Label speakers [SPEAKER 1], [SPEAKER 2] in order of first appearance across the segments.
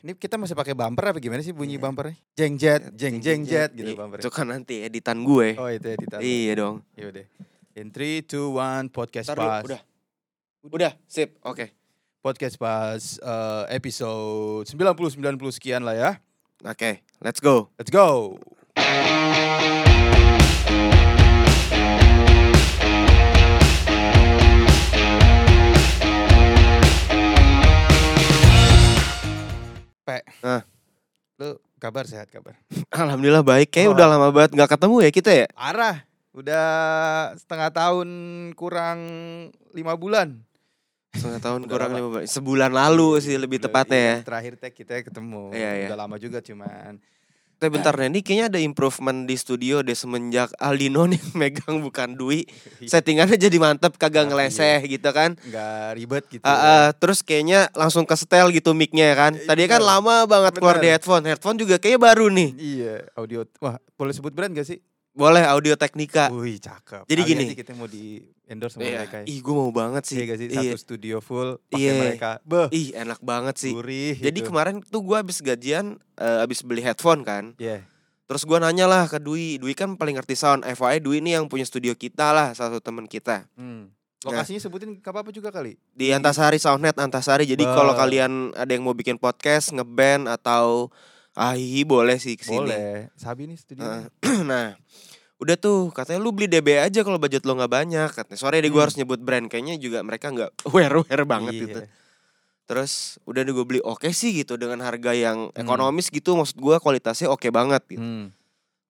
[SPEAKER 1] Ini kita masih pakai bumper apa gimana sih bunyi bumpernya? Jeng jet, jeng Iya. jeng jet gitu
[SPEAKER 2] Itu
[SPEAKER 1] bumpernya.
[SPEAKER 2] kan nanti editan gue.
[SPEAKER 1] Oh itu ya ditaruh.
[SPEAKER 2] iya dong.
[SPEAKER 1] Iya udah. In 3 2 1 podcast
[SPEAKER 2] Ntar
[SPEAKER 1] pas.
[SPEAKER 2] dulu, udah. Udah, sip. Oke.
[SPEAKER 1] Podcast pas eh, episode 90 90 sekian lah ya.
[SPEAKER 2] Oke, let's go.
[SPEAKER 1] Let's go. Pak.
[SPEAKER 2] Hah?
[SPEAKER 1] Lu kabar sehat kabar?
[SPEAKER 2] Nah, Alhamdulillah baik. Kayaknya
[SPEAKER 1] Wah.
[SPEAKER 2] udah lama banget nggak ketemu ya kita ya.
[SPEAKER 1] Parah. Udah setengah tahun kurang lima bulan.
[SPEAKER 2] Setengah tahun
[SPEAKER 1] Udah
[SPEAKER 2] kurang
[SPEAKER 1] lama.
[SPEAKER 2] lima bulan. Sebulan lalu sih lebih
[SPEAKER 1] Udah-
[SPEAKER 2] tepatnya
[SPEAKER 1] iya,
[SPEAKER 2] ya.
[SPEAKER 1] Terakhir tag kita ketemu.
[SPEAKER 2] Iya, iya.
[SPEAKER 1] Udah lama juga cuman.
[SPEAKER 2] Tapi bentar nih, ini kayaknya ada improvement di studio deh semenjak Aldino nih megang bukan Dwi. Settingannya jadi
[SPEAKER 1] Nah,
[SPEAKER 2] mantep, kagak
[SPEAKER 1] iya.
[SPEAKER 2] ngeleseh gitu kan.
[SPEAKER 1] Nggak ribet gitu.
[SPEAKER 2] Ah, ah, terus kayaknya langsung ke setel gitu mic-nya kan.
[SPEAKER 1] Iya,
[SPEAKER 2] Tadi kan
[SPEAKER 1] bener.
[SPEAKER 2] lama banget keluar di
[SPEAKER 1] Bener.
[SPEAKER 2] headphone. Headphone juga kayaknya baru nih.
[SPEAKER 1] Iya, audio. Wah, boleh sebut brand gak sih?
[SPEAKER 2] Boleh Audio Technica.
[SPEAKER 1] Wih, cakep.
[SPEAKER 2] Ah. Jadi
[SPEAKER 1] Kali
[SPEAKER 2] gini.
[SPEAKER 1] aja kita mau di endorse sama mereka.
[SPEAKER 2] Iya.
[SPEAKER 1] ya.
[SPEAKER 2] Ih, gue mau banget sih.
[SPEAKER 1] Iya gak sih? Satu
[SPEAKER 2] Iya.
[SPEAKER 1] studio full pakai
[SPEAKER 2] Iya.
[SPEAKER 1] mereka. Beh,
[SPEAKER 2] Ih, enak banget sih.
[SPEAKER 1] gurih.
[SPEAKER 2] Jadi
[SPEAKER 1] gitu.
[SPEAKER 2] kemarin tuh gue abis gajian, eh, abis beli headphone kan.
[SPEAKER 1] Iya.
[SPEAKER 2] Terus gue nanya lah ke Dwi. Dwi kan paling ngerti sound. FYI Dwi ini yang punya studio kita lah, salah satu temen kita.
[SPEAKER 1] Hmm. Lokasinya sebutin gak apa-apa juga kali.
[SPEAKER 2] Di Antasari Soundnet Antasari. Jadi kalau
[SPEAKER 1] Hmm. Wah.
[SPEAKER 2] kalian ada yang mau bikin podcast, ngeband atau ahi boleh sih kesini.
[SPEAKER 1] Boleh. Sabi nih studionya.
[SPEAKER 2] Eh, nah, udah tuh katanya lu beli DB aja kalau budget lo nggak banyak. Katanya sorry deh gue
[SPEAKER 1] Hmm.
[SPEAKER 2] harus nyebut brand. Kayaknya juga mereka nggak aware aware banget
[SPEAKER 1] Iya.
[SPEAKER 2] gitu. Terus udah deh gue beli oke sih gitu dengan harga yang ekonomis gitu maksud gua kualitasnya oke banget gitu.
[SPEAKER 1] Hmm.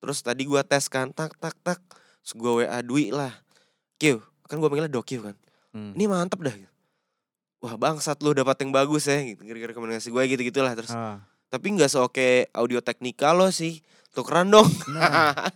[SPEAKER 2] Terus tadi gua tes kan tak tak tak. Terus gue WA Dwi lah. Q, kan gua panggilnya Dokyu kan.
[SPEAKER 1] Hmm.
[SPEAKER 2] Ini mantep dah. Gitu. Wah bangsat lu dapat yang bagus ya gitu. Gara-gara rekomendasi gue gitu-gitulah terus.
[SPEAKER 1] Ah.
[SPEAKER 2] Tapi nggak seoke audio teknika lo sih. Tukeran dong.
[SPEAKER 1] Nah,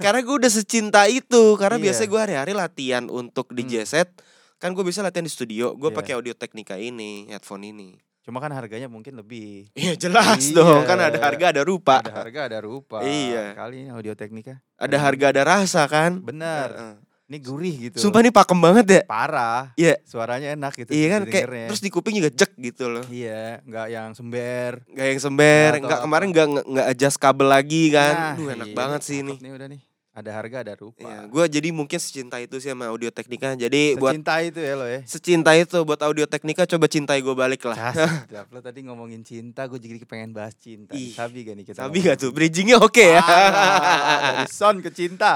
[SPEAKER 2] karena gue udah secinta itu. Karena
[SPEAKER 1] Iya.
[SPEAKER 2] biasanya gue hari-hari latihan untuk di
[SPEAKER 1] Hmm.
[SPEAKER 2] JZ. Kan gue bisa latihan di studio. Gue
[SPEAKER 1] Iya.
[SPEAKER 2] pakai audio teknika ini, headphone ini.
[SPEAKER 1] cuma kan harganya mungkin lebih.
[SPEAKER 2] Iya jelas
[SPEAKER 1] Iya.
[SPEAKER 2] dong kan ada harga ada rupa
[SPEAKER 1] Ada harga, ada rupa.
[SPEAKER 2] Iya.
[SPEAKER 1] Kali ini audio teknika.
[SPEAKER 2] ada harga ada rasa kan
[SPEAKER 1] Bener.
[SPEAKER 2] Heeh.
[SPEAKER 1] Ini gurih gitu.
[SPEAKER 2] sumpah ini pakem banget ya
[SPEAKER 1] Parah.
[SPEAKER 2] Iya.
[SPEAKER 1] Suaranya enak gitu.
[SPEAKER 2] iya kan kayak
[SPEAKER 1] didengernya.
[SPEAKER 2] terus di kuping juga jek gitu loh
[SPEAKER 1] Iya, nggak yang sember.
[SPEAKER 2] Gak yang sember,
[SPEAKER 1] Atau
[SPEAKER 2] nggak
[SPEAKER 1] apa.
[SPEAKER 2] kemarin nggak nggak- nggak adjust kabel lagi kan,
[SPEAKER 1] Nah,
[SPEAKER 2] Duh, enak
[SPEAKER 1] iya,
[SPEAKER 2] banget sih ini.
[SPEAKER 1] cakep Nih udah nih. Ada harga, ada rupa.
[SPEAKER 2] Iya, gue jadi mungkin secinta itu sih sama audio teknika. Jadi buat
[SPEAKER 1] Secinta itu ya lo ya.
[SPEAKER 2] secinta itu buat audio teknika coba cintai gue balik lah.
[SPEAKER 1] Sedap lo tadi ngomongin cinta, gue jadi pengen bahas cinta.
[SPEAKER 2] Ih,
[SPEAKER 1] Sabi gak nih kita?
[SPEAKER 2] Tapi gak tuh bridgingnya oke ya.
[SPEAKER 1] Parah, dari son ke cinta.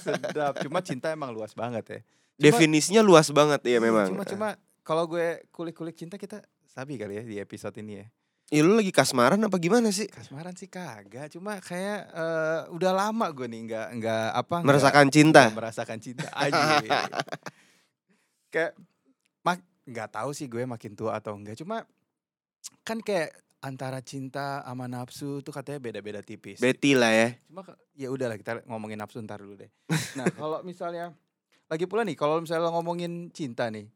[SPEAKER 1] Sedap. Cuma cinta emang luas banget ya. Cuma-
[SPEAKER 2] Definisinya luas banget ya memang.
[SPEAKER 1] Hmm, Cuma cuma kalau gue kulik-kulik cinta kita sabi kali ya di episode ini ya.
[SPEAKER 2] Iya lu lagi kasmaran apa gimana sih?
[SPEAKER 1] Kasmaran sih kagak, cuma kayak eh, udah lama gue nih nggak nggak apa nggak-
[SPEAKER 2] Merasakan cinta.
[SPEAKER 1] nggak merasakan cinta aja. kayak mak nggak tahu sih gue makin tua atau enggak, cuma kan kayak antara cinta sama nafsu tuh katanya beda-beda tipis.
[SPEAKER 2] Betty lah ya.
[SPEAKER 1] Cuma ke- ya udahlah kita ngomongin nafsu ntar dulu deh. Nah kalau misalnya lagi pula nih kalau misalnya lo ngomongin cinta nih,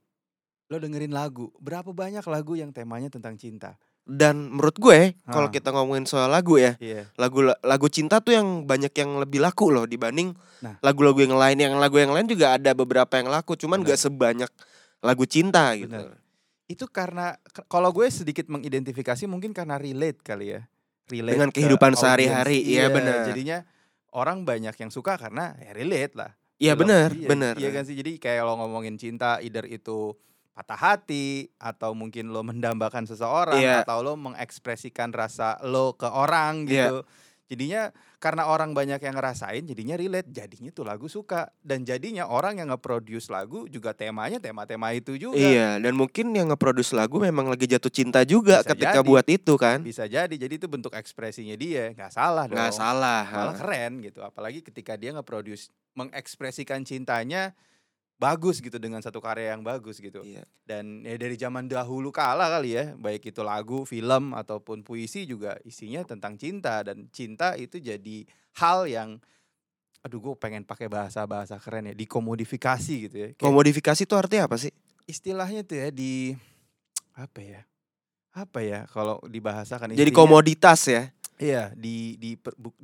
[SPEAKER 1] lo dengerin lagu berapa banyak lagu yang temanya tentang cinta?
[SPEAKER 2] Dan menurut gue
[SPEAKER 1] Ah.
[SPEAKER 2] kalau kita ngomongin soal lagu ya,
[SPEAKER 1] Iya.
[SPEAKER 2] lagu lagu cinta tuh yang banyak yang lebih laku loh dibanding
[SPEAKER 1] Nah.
[SPEAKER 2] lagu-lagu yang lain. Yang lagu yang lain juga ada beberapa yang laku, cuman
[SPEAKER 1] Benar.
[SPEAKER 2] gak sebanyak lagu cinta gitu.
[SPEAKER 1] Benar. Itu karena k- kalau gue sedikit mengidentifikasi mungkin karena relate kali ya. Relate
[SPEAKER 2] Dengan
[SPEAKER 1] ke
[SPEAKER 2] kehidupan
[SPEAKER 1] audiens.
[SPEAKER 2] sehari-hari, iya benar.
[SPEAKER 1] Jadinya orang banyak yang suka karena ya relate lah.
[SPEAKER 2] Iya
[SPEAKER 1] Film.
[SPEAKER 2] benar,
[SPEAKER 1] Iya,
[SPEAKER 2] benar.
[SPEAKER 1] Iya kan sih. Jadi kayak lo ngomongin cinta, either itu patah hati atau mungkin lo mendambakan seseorang
[SPEAKER 2] Iya.
[SPEAKER 1] atau lo mengekspresikan rasa lo ke orang gitu. Jadinya karena orang banyak yang ngerasain jadinya relate, jadinya tuh lagu suka dan jadinya orang yang nge-produce lagu juga temanya tema-tema itu juga.
[SPEAKER 2] Iya, dan mungkin yang ngeproduce lagu memang lagi jatuh cinta juga
[SPEAKER 1] Bisa
[SPEAKER 2] ketika
[SPEAKER 1] jadi.
[SPEAKER 2] buat itu kan.
[SPEAKER 1] Bisa jadi. Jadi itu bentuk ekspresinya dia, nggak salah dong.
[SPEAKER 2] Nggak salah.
[SPEAKER 1] malah keren gitu apalagi ketika dia nge-produce mengekspresikan cintanya bagus gitu dengan satu karya yang bagus gitu
[SPEAKER 2] Iya.
[SPEAKER 1] dan ya dari zaman dahulu kala kali ya baik itu lagu film ataupun puisi juga isinya tentang cinta dan cinta itu jadi hal yang aduh gue pengen pakai bahasa bahasa keren ya dikomodifikasi gitu ya Kayak
[SPEAKER 2] Kalau modifikasi itu artinya apa sih?
[SPEAKER 1] istilahnya tuh ya di apa ya apa ya kalau dibahasakan
[SPEAKER 2] Jadi
[SPEAKER 1] intinya-
[SPEAKER 2] komoditas ya.
[SPEAKER 1] Iya, di diper, bu-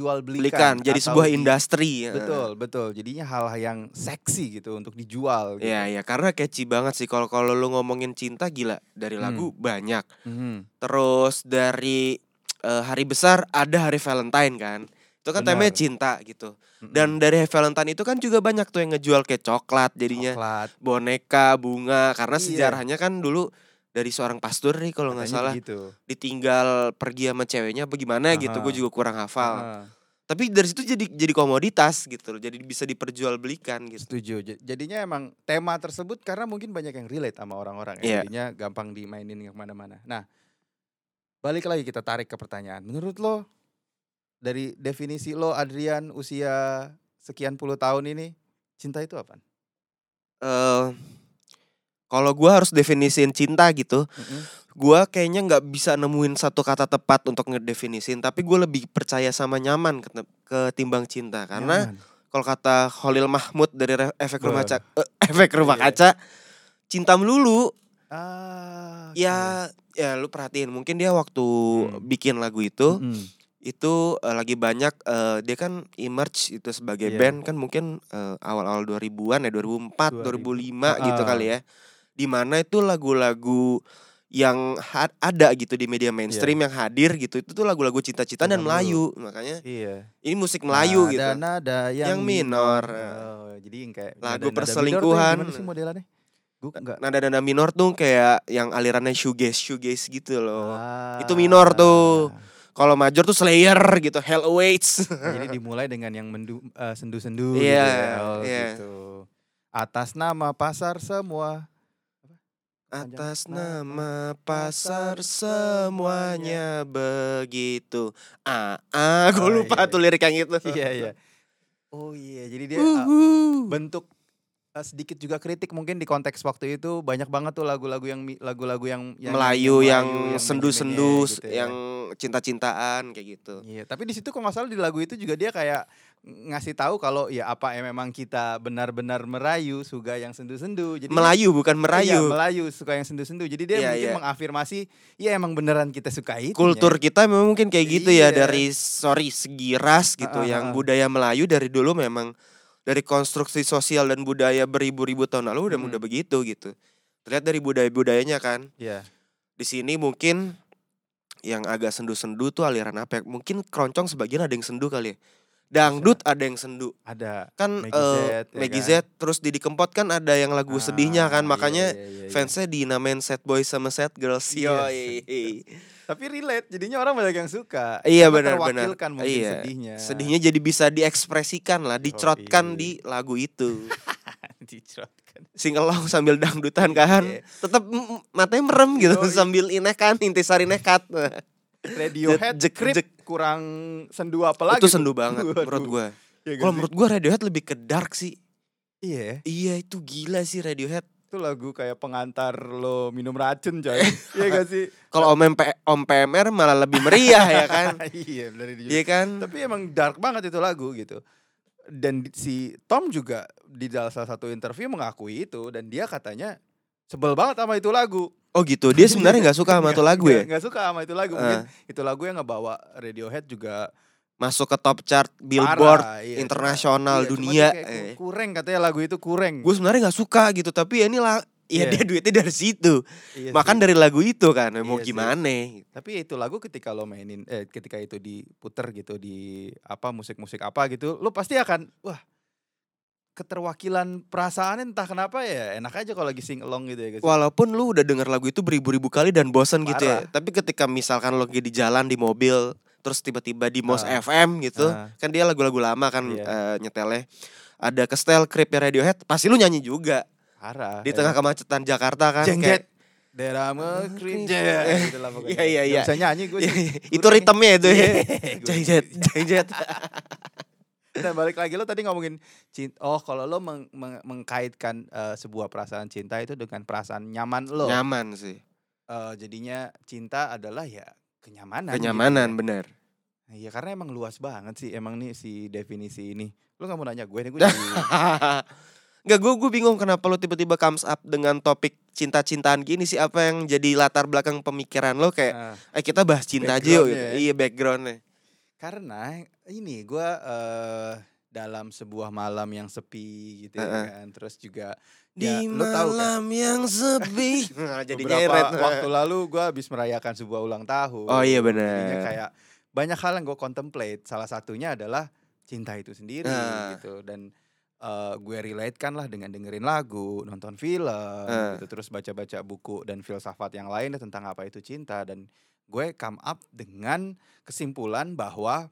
[SPEAKER 1] diperjualbelikan.
[SPEAKER 2] Belikan jadi
[SPEAKER 1] atau
[SPEAKER 2] sebuah
[SPEAKER 1] di-
[SPEAKER 2] industri. ya.
[SPEAKER 1] Betul, betul. Jadinya hal yang seksi gitu untuk dijual. Gitu.
[SPEAKER 2] Iya, ya karena catchy banget sih kalau kalau lu ngomongin cinta gila dari
[SPEAKER 1] Hmm.
[SPEAKER 2] lagu banyak.
[SPEAKER 1] Mhm.
[SPEAKER 2] Terus dari eh, hari besar ada hari Valentine kan. Itu kan
[SPEAKER 1] Benar.
[SPEAKER 2] temanya
[SPEAKER 1] Hmm.
[SPEAKER 2] cinta gitu.
[SPEAKER 1] Mm-mm.
[SPEAKER 2] Dan dari Valentine itu kan juga banyak tuh yang ngejual kayak coklat jadinya
[SPEAKER 1] Coklat,
[SPEAKER 2] boneka, bunga karena
[SPEAKER 1] Iya.
[SPEAKER 2] sejarahnya kan dulu dari seorang pastor nih kalau nggak
[SPEAKER 1] katanya
[SPEAKER 2] salah
[SPEAKER 1] begitu.
[SPEAKER 2] ditinggal pergi sama ceweknya apa gimana gitu.
[SPEAKER 1] Aha.
[SPEAKER 2] Gue juga kurang hafal.
[SPEAKER 1] Heeh,
[SPEAKER 2] Tapi dari situ jadi jadi komoditas gitu loh. Jadi bisa diperjualbelikan gitu.
[SPEAKER 1] setuju. Ja- Jadinya emang tema tersebut karena mungkin banyak yang relate sama orang-orang
[SPEAKER 2] Iya.
[SPEAKER 1] ya. Jadinya gampang dimainin ke mana-mana. Nah, balik lagi kita tarik ke pertanyaan. Menurut lo dari definisi lo Adrian usia sekian puluh tahun ini cinta itu apa?
[SPEAKER 2] eh kalau gue harus definisiin cinta gitu, gue kayaknya nggak bisa nemuin satu kata tepat untuk ngedefinisin. Tapi gue lebih percaya sama nyaman kete- ketimbang cinta, karena kalau kata Khalil Mahmud dari Re- efek rumah
[SPEAKER 1] Wah.
[SPEAKER 2] kaca, eh, efek rumah
[SPEAKER 1] Iya.
[SPEAKER 2] kaca, cinta melulu.
[SPEAKER 1] ah, oke.
[SPEAKER 2] Ya, ya lu perhatiin, mungkin dia waktu
[SPEAKER 1] Hmm.
[SPEAKER 2] bikin lagu itu,
[SPEAKER 1] Mm-mm.
[SPEAKER 2] itu eh, lagi banyak eh, dia kan emerge itu sebagai
[SPEAKER 1] Iya.
[SPEAKER 2] band kan mungkin eh, awal-awal 2000-an ya 2004, 2005 gitu
[SPEAKER 1] Ah.
[SPEAKER 2] kali ya. Di mana itu lagu-lagu yang ha- ada gitu di media mainstream yang hadir gitu itu tuh lagu-lagu cinta-cinta dan
[SPEAKER 1] Cinta
[SPEAKER 2] Melayu. Makanya
[SPEAKER 1] Iya.
[SPEAKER 2] ini musik Melayu
[SPEAKER 1] Nada-
[SPEAKER 2] gitu.
[SPEAKER 1] nada yang,
[SPEAKER 2] Yang minor.
[SPEAKER 1] Oh, jadi yang kayak
[SPEAKER 2] Lagu
[SPEAKER 1] nada-nada minor tuh yang
[SPEAKER 2] perselingkuhan.
[SPEAKER 1] Gimana sih modelannya? Gue enggak.
[SPEAKER 2] Nada-nada minor tuh kayak yang alirannya shoegaze shoegaze gitu loh.
[SPEAKER 1] Ah.
[SPEAKER 2] itu minor tuh. Kalau major tuh Slayer gitu, Hell Awaits.
[SPEAKER 1] Nah, Jadi dimulai dengan yang mendu, eh, sendu-sendu
[SPEAKER 2] Iya,
[SPEAKER 1] gitu ya. Oh,
[SPEAKER 2] iya.
[SPEAKER 1] gitu. Atas nama pasar semua.
[SPEAKER 2] Atas nama pasar semuanya begitu. Ah, ah, gue
[SPEAKER 1] Oh, iya.
[SPEAKER 2] lupa tuh lirik yang itu. ah,
[SPEAKER 1] Iya, iya. Oh iya, jadi dia ah,
[SPEAKER 2] Uhuh.
[SPEAKER 1] bentuk eh, sedikit juga kritik mungkin di konteks waktu itu banyak banget tuh lagu-lagu yang mi- lagu-lagu yang, yang
[SPEAKER 2] Melayu yang
[SPEAKER 1] Melayu, yang
[SPEAKER 2] sendu-sendu,
[SPEAKER 1] menye-menye gitu ya.
[SPEAKER 2] yang cinta-cintaan kayak gitu.
[SPEAKER 1] Iya, tapi di situ kok nggak salah di lagu itu juga dia kayak ng- ngasih tahu kalau ya apa ya memang kita benar-benar merayu suga yang sendu-sendu. Jadi
[SPEAKER 2] Melayu bukan
[SPEAKER 1] kan Iya,
[SPEAKER 2] merayu.
[SPEAKER 1] melayu suka yang sendu-sendu. Jadi dia
[SPEAKER 2] Iya,
[SPEAKER 1] mungkin
[SPEAKER 2] iya.
[SPEAKER 1] mengafirmasi ya emang beneran kita suka itu.
[SPEAKER 2] Kultur kita memang mungkin kayak gitu ya
[SPEAKER 1] Iya.
[SPEAKER 2] dari sorry segi ras gitu
[SPEAKER 1] Ah, ah,
[SPEAKER 2] yang
[SPEAKER 1] ah.
[SPEAKER 2] budaya Melayu dari dulu memang dari konstruksi sosial dan budaya beribu-ribu tahun lalu udah
[SPEAKER 1] Mm.
[SPEAKER 2] udah begitu gitu. Terlihat dari budaya-budayanya kan.
[SPEAKER 1] Iya.
[SPEAKER 2] di sini mungkin yang agak sendu-sendu tuh aliran apa ya? Mungkin keroncong sebagian ada yang sendu kali ya. Dangdut ada yang sendu.
[SPEAKER 1] Ada
[SPEAKER 2] Kan
[SPEAKER 1] Meggy
[SPEAKER 2] eh,
[SPEAKER 1] Z, ya
[SPEAKER 2] Meggy
[SPEAKER 1] kan?
[SPEAKER 2] Z, terus Didi Kempot kan ada yang lagu
[SPEAKER 1] Ah,
[SPEAKER 2] sedihnya kan.
[SPEAKER 1] iya,
[SPEAKER 2] Makanya
[SPEAKER 1] iya, iya, iya.
[SPEAKER 2] fansnya dinamain sad boy sama sad girls.
[SPEAKER 1] Iya.
[SPEAKER 2] Yoi.
[SPEAKER 1] tapi relate jadinya orang banyak yang suka.
[SPEAKER 2] Iya,
[SPEAKER 1] Karena
[SPEAKER 2] benar, benar.
[SPEAKER 1] terwakilkan mungkin
[SPEAKER 2] Iya.
[SPEAKER 1] sedihnya.
[SPEAKER 2] Sedihnya jadi bisa diekspresikan lah,
[SPEAKER 1] Ya.
[SPEAKER 2] dicerotkan
[SPEAKER 1] Yoi.
[SPEAKER 2] di lagu itu.
[SPEAKER 1] Dicerotkan.
[SPEAKER 2] Singelong sambil dangdutan kan.
[SPEAKER 1] Iya.
[SPEAKER 2] Tetap mm, matanya merem gitu
[SPEAKER 1] Yoi.
[SPEAKER 2] sambil inekan, intisari nekat.
[SPEAKER 1] Radiohead
[SPEAKER 2] Jek,
[SPEAKER 1] Creep,
[SPEAKER 2] jek.
[SPEAKER 1] kurang sendu apa lagi?
[SPEAKER 2] Itu
[SPEAKER 1] tuh?
[SPEAKER 2] sendu banget menurut
[SPEAKER 1] Waduh.
[SPEAKER 2] gue.
[SPEAKER 1] Iya gak
[SPEAKER 2] Kalau
[SPEAKER 1] sih?
[SPEAKER 2] menurut gua Radiohead lebih ke dark sih.
[SPEAKER 1] iya. ya.
[SPEAKER 2] Iya itu gila sih Radiohead.
[SPEAKER 1] Itu lagu kayak pengantar lo minum racun coy Iya gak sih?
[SPEAKER 2] Kalau Om, MP, Om PMR malah lebih meriah ya kan.
[SPEAKER 1] iya benar itu juga.
[SPEAKER 2] Iya kan.
[SPEAKER 1] Tapi emang dark banget itu lagu gitu Dan di- si Tom juga di dalam salah satu interview mengakui itu Dan dia katanya sebel banget sama itu lagu
[SPEAKER 2] Oh gitu. Dia sebenarnya nggak suka sama tuh lagu
[SPEAKER 1] Iya,
[SPEAKER 2] ya. Eh,
[SPEAKER 1] Nggak- nggak suka sama itu lagu Mungkin itu lagu yang ngebawa Radiohead juga
[SPEAKER 2] Masuk ke top chart Billboard
[SPEAKER 1] parah, iya. Cuma-
[SPEAKER 2] internasional
[SPEAKER 1] iya, cuma
[SPEAKER 2] dunia. eh.
[SPEAKER 1] dia kayak ku- Kureng katanya lagu itu kureng
[SPEAKER 2] Gue sebenarnya nggak suka gitu tapi ya ini lah. Ya
[SPEAKER 1] Iya.
[SPEAKER 2] dia duitnya dari situ.
[SPEAKER 1] Iya sih.
[SPEAKER 2] Makan dari lagu itu kan. Mau
[SPEAKER 1] Iya sih.
[SPEAKER 2] gimana?
[SPEAKER 1] Tapi ya itu lagu ketika lo mainin eh ketika itu diputer gitu di apa musik-musik apa gitu, lo pasti akan wah keterwakilan perasaan entah kenapa ya enak aja kalau lagi sing along gitu ya guys.
[SPEAKER 2] Walaupun lu udah denger lagu itu beribu-ribu kali dan bosan gitu ya.
[SPEAKER 1] Parah.
[SPEAKER 2] Tapi ketika misalkan lo lagi di jalan di mobil terus tiba-tiba di Mos
[SPEAKER 1] Ah.
[SPEAKER 2] FM gitu,
[SPEAKER 1] Ah.
[SPEAKER 2] kan dia lagu-lagu lama kan
[SPEAKER 1] Iya.
[SPEAKER 2] eh, nyetelnya. Ada ke style creepnya Radiohead, pasti lu nyanyi juga
[SPEAKER 1] Parah. ya kan?
[SPEAKER 2] di tengah kemacetan Jakarta kan.
[SPEAKER 1] jengget.
[SPEAKER 2] kayak-
[SPEAKER 1] Derama
[SPEAKER 2] creep.
[SPEAKER 1] gitu lah pokoknya.
[SPEAKER 2] Iya, iya,
[SPEAKER 1] Nggak
[SPEAKER 2] iya.
[SPEAKER 1] Bisa nyanyi gue sih.
[SPEAKER 2] itu ritmenya itu
[SPEAKER 1] Iya.
[SPEAKER 2] ya.
[SPEAKER 1] Gue-
[SPEAKER 2] Jengjet, jengjet.
[SPEAKER 1] Dan Nah, balik lagi lo tadi ngomongin cinta. Oh, kalau lo meng- meng- mengkaitkan eh, sebuah perasaan cinta itu dengan perasaan nyaman lo.
[SPEAKER 2] Nyaman sih.
[SPEAKER 1] Eh, jadinya cinta adalah ya kenyamanan. gitu ya.
[SPEAKER 2] Kenyamanan bener.
[SPEAKER 1] Iya karena emang luas banget sih emang nih si definisi ini. Lu nggak mau nanya gue nih gue jadi
[SPEAKER 2] Gak gue gue bingung kenapa lo tiba-tiba comes up dengan topik cinta-cintaan gini sih apa yang jadi latar belakang pemikiran lo
[SPEAKER 1] Ah,
[SPEAKER 2] kayak eh kita bahas cinta aja yuk gitu.
[SPEAKER 1] Backgroundnya ya.
[SPEAKER 2] iya backgroundnya
[SPEAKER 1] karena ini gue eh, dalam sebuah malam yang sepi gitu ya
[SPEAKER 2] Heeh.
[SPEAKER 1] kan terus juga
[SPEAKER 2] di
[SPEAKER 1] ya, lo tahu kan
[SPEAKER 2] malam yang sepi Nah, jadi
[SPEAKER 1] beberapa
[SPEAKER 2] nyeret
[SPEAKER 1] waktu lalu gue habis merayakan sebuah ulang tahun
[SPEAKER 2] oh iya
[SPEAKER 1] Jadinya
[SPEAKER 2] benar
[SPEAKER 1] kayak banyak hal yang gue contemplate. Salah satunya adalah cinta itu sendiri
[SPEAKER 2] Nah.
[SPEAKER 1] gitu dan eh, gue relate kan lah dengan dengerin lagu, nonton film,
[SPEAKER 2] Nah.
[SPEAKER 1] gitu terus baca-baca buku dan filsafat yang lain tentang apa itu cinta dan gue come up dengan kesimpulan bahwa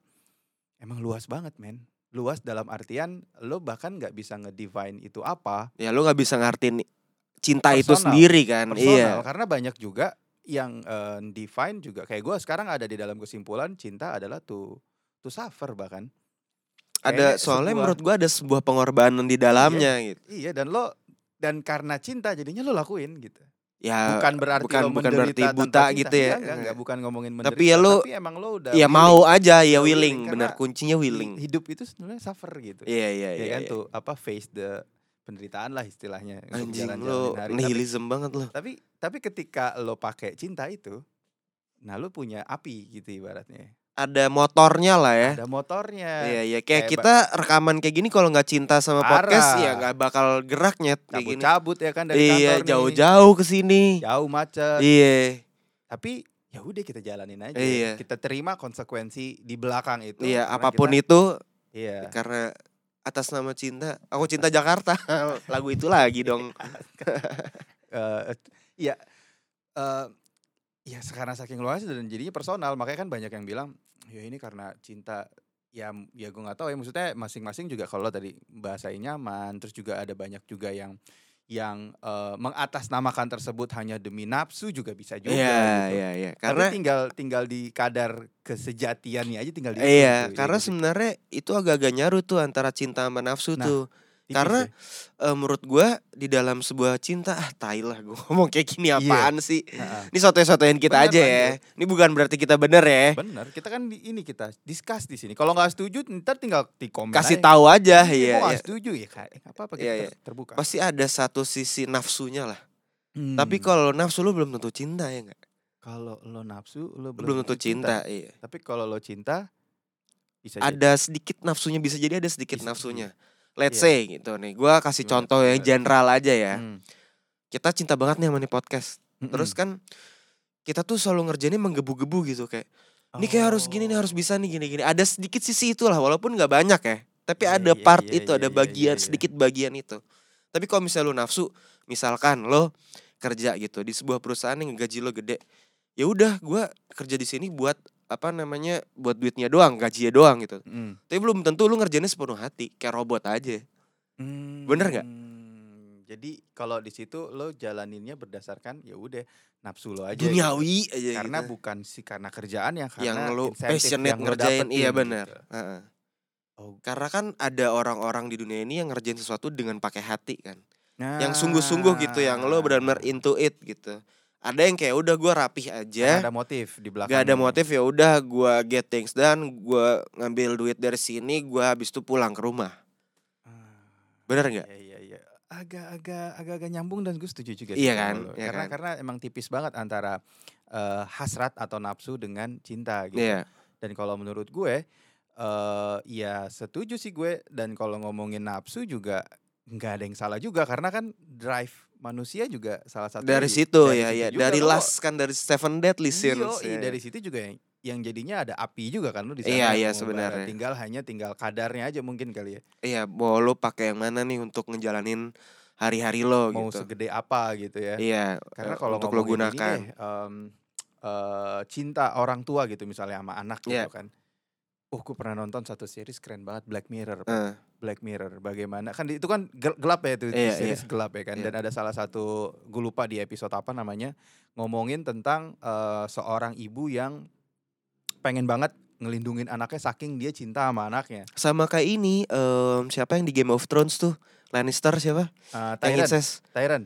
[SPEAKER 1] emang luas banget men. Luas dalam artian lo bahkan nggak bisa ngedefine itu apa
[SPEAKER 2] ya lo nggak bisa ngartiin cinta itu
[SPEAKER 1] Personal.
[SPEAKER 2] sendiri kan iya
[SPEAKER 1] personal karena banyak juga yang eh, define juga kayak gue sekarang ada di dalam kesimpulan cinta adalah to to suffer bahkan
[SPEAKER 2] ada
[SPEAKER 1] Kayaknya
[SPEAKER 2] soalnya
[SPEAKER 1] sebuah-
[SPEAKER 2] menurut gua ada sebuah pengorbanan di dalamnya gitu.
[SPEAKER 1] iya dan lo dan karena cinta jadinya lo lakuin gitu
[SPEAKER 2] Ya
[SPEAKER 1] bukan berarti
[SPEAKER 2] bukan-
[SPEAKER 1] lo
[SPEAKER 2] bukan
[SPEAKER 1] menderita
[SPEAKER 2] berarti
[SPEAKER 1] tanpa
[SPEAKER 2] buta
[SPEAKER 1] cinta.
[SPEAKER 2] gitu ya.
[SPEAKER 1] Iya, enggak, enggak, bukan ngomongin menderita
[SPEAKER 2] Tapi ya lo-
[SPEAKER 1] emang lo udah
[SPEAKER 2] ya
[SPEAKER 1] willing.
[SPEAKER 2] mau aja ya
[SPEAKER 1] Udah willing,
[SPEAKER 2] willing,
[SPEAKER 1] Iya, karena
[SPEAKER 2] benar kuncinya willing.
[SPEAKER 1] hidup itu sebenarnya suffer gitu
[SPEAKER 2] Iya iya
[SPEAKER 1] ya
[SPEAKER 2] iya.
[SPEAKER 1] kan
[SPEAKER 2] iya.
[SPEAKER 1] tuh apa face the penderitaan lah istilahnya untuk
[SPEAKER 2] Anjing
[SPEAKER 1] jalan-jalanin hari.
[SPEAKER 2] lo
[SPEAKER 1] Tapi
[SPEAKER 2] nihilism banget lo.
[SPEAKER 1] tapi tapi ketika lo pakai cinta itu nah lo punya api gitu ibaratnya
[SPEAKER 2] Ada motornya lah ya.
[SPEAKER 1] ada motornya
[SPEAKER 2] Iya iya
[SPEAKER 1] Kayak
[SPEAKER 2] kayak kita rekaman kayak gini kalau nggak cinta sama
[SPEAKER 1] Parah.
[SPEAKER 2] podcast ya nggak bakal gerak nyet kayak gini.
[SPEAKER 1] cabut-cabut ya kan dari
[SPEAKER 2] Iya
[SPEAKER 1] kantor nih.
[SPEAKER 2] jauh-jauh ke sini.
[SPEAKER 1] jauh macet
[SPEAKER 2] Iya.
[SPEAKER 1] tapi ya udah kita jalanin aja
[SPEAKER 2] Iya.
[SPEAKER 1] kita terima konsekuensi di belakang itu
[SPEAKER 2] Iya
[SPEAKER 1] karena
[SPEAKER 2] apapun
[SPEAKER 1] kita-
[SPEAKER 2] itu
[SPEAKER 1] iya
[SPEAKER 2] karena atas nama cinta aku cinta Jakarta lagu itu lagi dong
[SPEAKER 1] Eh, iya Eh, ya sekarang saking luasnya dan jadinya personal makanya kan banyak yang bilang ya ini karena cinta ya m- ya gue nggak tahu ya maksudnya masing-masing juga kalau tadi bahasanya nyaman terus juga ada banyak juga yang yang eh, mengatasnamakan tersebut hanya demi nafsu juga bisa juga
[SPEAKER 2] Iya
[SPEAKER 1] gitu.
[SPEAKER 2] iya iya
[SPEAKER 1] Karena
[SPEAKER 2] karena
[SPEAKER 1] tinggal tinggal di kadar kesejatiannya aja tinggal di situ
[SPEAKER 2] Iya,
[SPEAKER 1] gitu, ya
[SPEAKER 2] karena
[SPEAKER 1] gitu sih.
[SPEAKER 2] sebenarnya itu agak-agak nyaru tuh antara cinta sama nafsu
[SPEAKER 1] Nah,
[SPEAKER 2] tuh.
[SPEAKER 1] Tipis
[SPEAKER 2] karena
[SPEAKER 1] ya.
[SPEAKER 2] Eh, menurut gua di dalam sebuah cinta ah tai lah gua ngomong kayak gini
[SPEAKER 1] Iya.
[SPEAKER 2] apaan sih.
[SPEAKER 1] Heeh.
[SPEAKER 2] Ini sotoy-sotoyan kita
[SPEAKER 1] Bener,
[SPEAKER 2] aja ya. Ini bukan berarti kita bener ya.
[SPEAKER 1] bener kita kan di- ini kita discuss di sini kalau nggak setuju ntar tinggal di komen
[SPEAKER 2] Kasih
[SPEAKER 1] aja.
[SPEAKER 2] tahu aja
[SPEAKER 1] Ini
[SPEAKER 2] iya.
[SPEAKER 1] gua nggak
[SPEAKER 2] iya.
[SPEAKER 1] setuju ya kak apa apa
[SPEAKER 2] Iya,
[SPEAKER 1] kita
[SPEAKER 2] iya.
[SPEAKER 1] ter- terbuka
[SPEAKER 2] Pasti ada satu sisi nafsunya lah.
[SPEAKER 1] Hmm.
[SPEAKER 2] Tapi kalau nafsu lu belum tentu cinta ya enggak?
[SPEAKER 1] kalau lo nafsu lo belum,
[SPEAKER 2] Belum tentu cinta, iya.
[SPEAKER 1] tapi kalau lo cinta bisa jadi.
[SPEAKER 2] Ada sedikit nafsunya bisa jadi ada sedikit
[SPEAKER 1] gitu. Bisa jadi.
[SPEAKER 2] nafsunya.
[SPEAKER 1] Iya.
[SPEAKER 2] Let's say gitu nih. Gua kasih
[SPEAKER 1] Gimana
[SPEAKER 2] contoh
[SPEAKER 1] tuh, gimana
[SPEAKER 2] yang
[SPEAKER 1] tuh?
[SPEAKER 2] general aja ya.
[SPEAKER 1] Hmm.
[SPEAKER 2] Kita cinta banget nih sama nih podcast. Terus
[SPEAKER 1] Mm-mm.
[SPEAKER 2] kan kita tuh selalu ngerjainnya menggebu-gebu gitu kayak
[SPEAKER 1] Hmm.
[SPEAKER 2] ini kayak harus gini nih
[SPEAKER 1] Oh.
[SPEAKER 2] harus bisa nih gini-gini. Ada sedikit sisi itulah walaupun nggak banyak ya. Tapi
[SPEAKER 1] Iya,
[SPEAKER 2] ada
[SPEAKER 1] iya,
[SPEAKER 2] part
[SPEAKER 1] iya,
[SPEAKER 2] itu,
[SPEAKER 1] iya,
[SPEAKER 2] ada
[SPEAKER 1] iya,
[SPEAKER 2] bagian
[SPEAKER 1] iya.
[SPEAKER 2] sedikit bagian itu. Tapi kalau misalnya lu nafsu, misalkan lo kerja gitu di sebuah perusahaan yang gaji lo gede. Ya udah, gua kerja di sini buat apa namanya? buat duitnya doang, gajinya doang gitu.
[SPEAKER 1] Mm.
[SPEAKER 2] Tapi belum tentu lu ngerjainnya sepenuh hati, kayak robot aja. Bener nggak?
[SPEAKER 1] Hmm, Jadi kalau di situ lo jalaninnya berdasarkan ya udah nafsu lo aja. gitu.
[SPEAKER 2] Duniawi aja
[SPEAKER 1] Karena
[SPEAKER 2] gitu.
[SPEAKER 1] bukan sih karena kerjaan yang karena
[SPEAKER 2] yang lo
[SPEAKER 1] insentif
[SPEAKER 2] passionate
[SPEAKER 1] yang lo
[SPEAKER 2] ngerjain, iya
[SPEAKER 1] dapetin,
[SPEAKER 2] benar.
[SPEAKER 1] gitu.
[SPEAKER 2] Heeh.
[SPEAKER 1] Oh.
[SPEAKER 2] Karena kan ada orang-orang di dunia ini yang ngerjain sesuatu dengan pakai hati kan.
[SPEAKER 1] Nah.
[SPEAKER 2] yang sungguh-sungguh gitu yang lo benar-benar into it gitu ada yang kayak udah gua rapih
[SPEAKER 1] Karena
[SPEAKER 2] aja
[SPEAKER 1] ada motif di belakang.
[SPEAKER 2] gak iya. ada
[SPEAKER 1] lo.
[SPEAKER 2] motif ya udah gua get things done gua ngambil duit dari sini gua habis itu pulang ke rumah
[SPEAKER 1] Ah.
[SPEAKER 2] bener nggak
[SPEAKER 1] Iya iya iya. Agak-agak agak-agak nyambung dan gue setuju juga.
[SPEAKER 2] Iya
[SPEAKER 1] sih sama
[SPEAKER 2] kan,
[SPEAKER 1] lo.
[SPEAKER 2] iya
[SPEAKER 1] karena
[SPEAKER 2] kan.
[SPEAKER 1] karena emang tipis banget antara eh, hasrat atau nafsu dengan cinta gitu.
[SPEAKER 2] Iya
[SPEAKER 1] Dan kalau menurut gue, eh ya setuju sih gue. Dan kalau ngomongin nafsu juga nggak ada yang salah juga karena kan drive manusia juga salah satu
[SPEAKER 2] dari situ ya ya dari last kan dari seven deadly sins
[SPEAKER 1] Yo,
[SPEAKER 2] ya.
[SPEAKER 1] Iya, dari situ juga yang yang jadinya ada api juga kan lo di
[SPEAKER 2] Iya,
[SPEAKER 1] sana.
[SPEAKER 2] iya,
[SPEAKER 1] mau
[SPEAKER 2] sebenarnya.
[SPEAKER 1] bara- Tinggal hanya tinggal kadarnya aja mungkin kali ya.
[SPEAKER 2] iya mau lo pakai yang mana nih untuk ngejalanin hari-hari lo
[SPEAKER 1] Mau
[SPEAKER 2] gitu
[SPEAKER 1] segede apa gitu ya.
[SPEAKER 2] iya
[SPEAKER 1] Karena
[SPEAKER 2] eh,
[SPEAKER 1] kalau
[SPEAKER 2] untuk lo
[SPEAKER 1] ngomongin ini
[SPEAKER 2] gunakan
[SPEAKER 1] deh, em, eh, cinta orang tua gitu misalnya sama anak gitu
[SPEAKER 2] Iya.
[SPEAKER 1] kan. Oh, gue pernah nonton satu series keren banget Black Mirror.
[SPEAKER 2] Eh,
[SPEAKER 1] Black Mirror bagaimana kan di- itu kan gel- gelap ya itu itu
[SPEAKER 2] Iya,
[SPEAKER 1] series gelap ya kan
[SPEAKER 2] Iya.
[SPEAKER 1] dan ada salah satu gue lupa di episode apa namanya ngomongin tentang eh, seorang ibu yang pengen banget ngelindungin anaknya saking dia cinta sama anaknya
[SPEAKER 2] sama kayak ini em, siapa yang di Game of Thrones tuh Lannister siapa
[SPEAKER 1] Eh,
[SPEAKER 2] yang
[SPEAKER 1] Tyrion
[SPEAKER 2] incest
[SPEAKER 1] Tyrion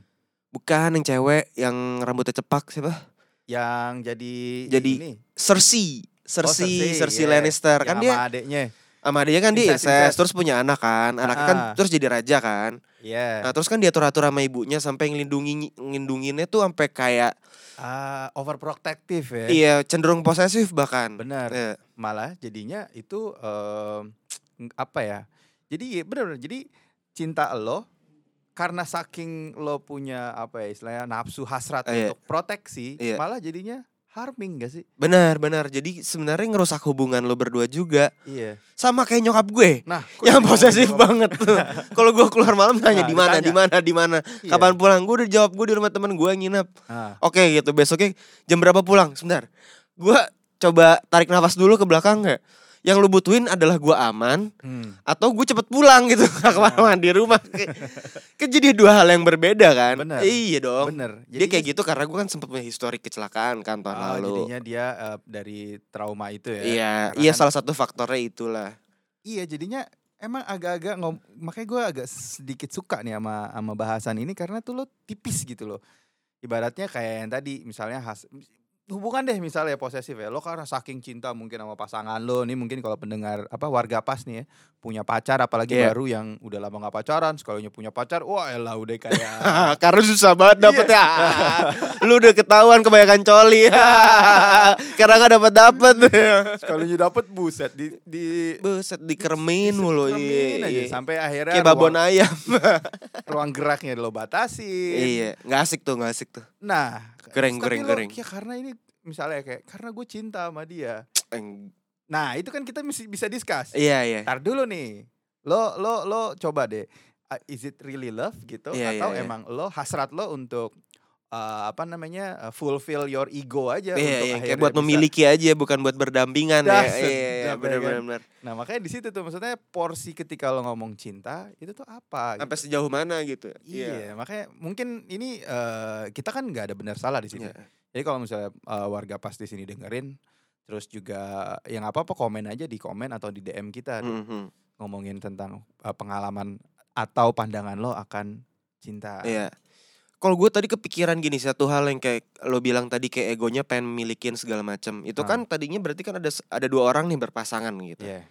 [SPEAKER 2] Bukan yang cewek yang rambutnya cepak siapa?
[SPEAKER 1] yang jadi
[SPEAKER 2] Jadi
[SPEAKER 1] ini
[SPEAKER 2] Cersei. Cersei,
[SPEAKER 1] Cersei,
[SPEAKER 2] Cersei,
[SPEAKER 1] iya.
[SPEAKER 2] Lannister.
[SPEAKER 1] yang
[SPEAKER 2] Kan
[SPEAKER 1] sama
[SPEAKER 2] dia
[SPEAKER 1] adeknya
[SPEAKER 2] Sama dia kan dia
[SPEAKER 1] Incest,
[SPEAKER 2] incest,
[SPEAKER 1] incest.
[SPEAKER 2] terus punya anak kan. Anaknya kan
[SPEAKER 1] Ah.
[SPEAKER 2] terus jadi raja kan.
[SPEAKER 1] Iya.
[SPEAKER 2] Nah, terus kan diatur-atur sama ibunya sampai ngelindungi ngelindunginnya tuh sampai kayak
[SPEAKER 1] Ah, overprotective ya.
[SPEAKER 2] iya cenderung posesif bahkan.
[SPEAKER 1] Benar.
[SPEAKER 2] Iya.
[SPEAKER 1] malah jadinya itu em, apa ya jadi benar jadi cinta lo karena saking lo punya apa ya istilahnya nafsu hasrat
[SPEAKER 2] Iya.
[SPEAKER 1] untuk proteksi
[SPEAKER 2] Iya.
[SPEAKER 1] malah jadinya harming gak sih
[SPEAKER 2] Benar, benar. Jadi sebenarnya ngerusak hubungan lo berdua juga.
[SPEAKER 1] iya
[SPEAKER 2] Sama kayak nyokap gue.
[SPEAKER 1] nah kok
[SPEAKER 2] Yang
[SPEAKER 1] jadi
[SPEAKER 2] posesif
[SPEAKER 1] ngomong-
[SPEAKER 2] banget. Kalau gue keluar malam
[SPEAKER 1] Nah,
[SPEAKER 2] nanya di mana,
[SPEAKER 1] ditanya.
[SPEAKER 2] di mana, di mana.
[SPEAKER 1] Iya.
[SPEAKER 2] Kapan pulang? Gue udah jawab gue di rumah temen gue nginep.
[SPEAKER 1] Ah,
[SPEAKER 2] Oke gitu. Besoknya jam berapa pulang? Sebentar. Gue coba tarik nafas dulu ke belakang nggak? Yang lu butuhin adalah gue aman
[SPEAKER 1] hmm,
[SPEAKER 2] atau gue cepet pulang gitu nggak kemana-mana di rumah. Kayak- kan jadi dua hal yang berbeda kan?
[SPEAKER 1] Benar.
[SPEAKER 2] Iya dong.
[SPEAKER 1] bener
[SPEAKER 2] Dia kayak gitu karena gue kan sempet punya histori kecelakaan kan tahun
[SPEAKER 1] ah,
[SPEAKER 2] lalu.
[SPEAKER 1] jadinya dia eh, dari trauma itu ya
[SPEAKER 2] Iya,
[SPEAKER 1] Karena
[SPEAKER 2] iya
[SPEAKER 1] kan-
[SPEAKER 2] salah satu faktornya itulah.
[SPEAKER 1] Iya jadinya emang agak-agak ngom makanya gue agak sedikit suka nih sama sama bahasan ini karena tuh lo tipis gitu loh. Ibaratnya kayak yang tadi misalnya khas hubungan deh misalnya posesif ya lo karena saking cinta mungkin sama pasangan lo nih mungkin kalau pendengar apa warga pas nih ya punya pacar apalagi
[SPEAKER 2] Iya.
[SPEAKER 1] baru yang udah lama nggak pacaran sekalinya punya pacar wah elah udah kayak
[SPEAKER 2] Ah, karena susah banget dapet ya. Lu udah ketahuan kebanyakan coli. karena gak dapet dapet.
[SPEAKER 1] sekalinya dapet buset di di
[SPEAKER 2] Buset dikeremin mulu.
[SPEAKER 1] Remin
[SPEAKER 2] Iya,
[SPEAKER 1] aja,
[SPEAKER 2] iya.
[SPEAKER 1] sampai akhirnya
[SPEAKER 2] Kayak babon
[SPEAKER 1] ruang,
[SPEAKER 2] ayam.
[SPEAKER 1] ruang geraknya lo batasi
[SPEAKER 2] iya, nggak asik tuh, nggak asik tuh.
[SPEAKER 1] Nah, k-
[SPEAKER 2] Goreng,
[SPEAKER 1] terus tapi
[SPEAKER 2] goreng,
[SPEAKER 1] lo-
[SPEAKER 2] goreng.
[SPEAKER 1] Ya karena ini misalnya kayak karena gue cinta sama dia.
[SPEAKER 2] Eng,
[SPEAKER 1] Nah, itu kan kita mesti bisa discuss.
[SPEAKER 2] Iya, iya.
[SPEAKER 1] Ntar dulu nih. Lo lo lo coba deh. uh, is it really love gitu
[SPEAKER 2] Iya,
[SPEAKER 1] atau
[SPEAKER 2] iya, iya.
[SPEAKER 1] emang lo hasrat lo untuk uh, apa namanya? uh, fulfill your ego aja
[SPEAKER 2] Iya,
[SPEAKER 1] untuk
[SPEAKER 2] iya,
[SPEAKER 1] akhirnya
[SPEAKER 2] kayak buat
[SPEAKER 1] bisa-
[SPEAKER 2] memiliki aja bukan buat berdampingan
[SPEAKER 1] Dah,
[SPEAKER 2] ya. Iya, iya,
[SPEAKER 1] sedap ya
[SPEAKER 2] benar
[SPEAKER 1] kan?
[SPEAKER 2] benar benar.
[SPEAKER 1] Nah, makanya di situ tuh maksudnya porsi ketika lo ngomong cinta itu tuh apa? gitu.
[SPEAKER 2] Sampai sejauh mana gitu.
[SPEAKER 1] Iya, makanya mungkin ini uh, kita kan nggak ada benar salah di sini.
[SPEAKER 2] Iya.
[SPEAKER 1] Jadi kalau misalnya uh, warga pas di sini dengerin, terus juga yang apa apa komen aja di komen atau di DM kita
[SPEAKER 2] Mhm.
[SPEAKER 1] ngomongin tentang uh, pengalaman atau pandangan lo akan cinta.
[SPEAKER 2] Iya. Kalau gue tadi kepikiran gini satu hal yang kayak lo bilang tadi kayak egonya pengen memilikin segala macam.
[SPEAKER 1] Ah.
[SPEAKER 2] Itu kan tadinya berarti kan ada s- ada dua orang nih berpasangan gitu.
[SPEAKER 1] Iya.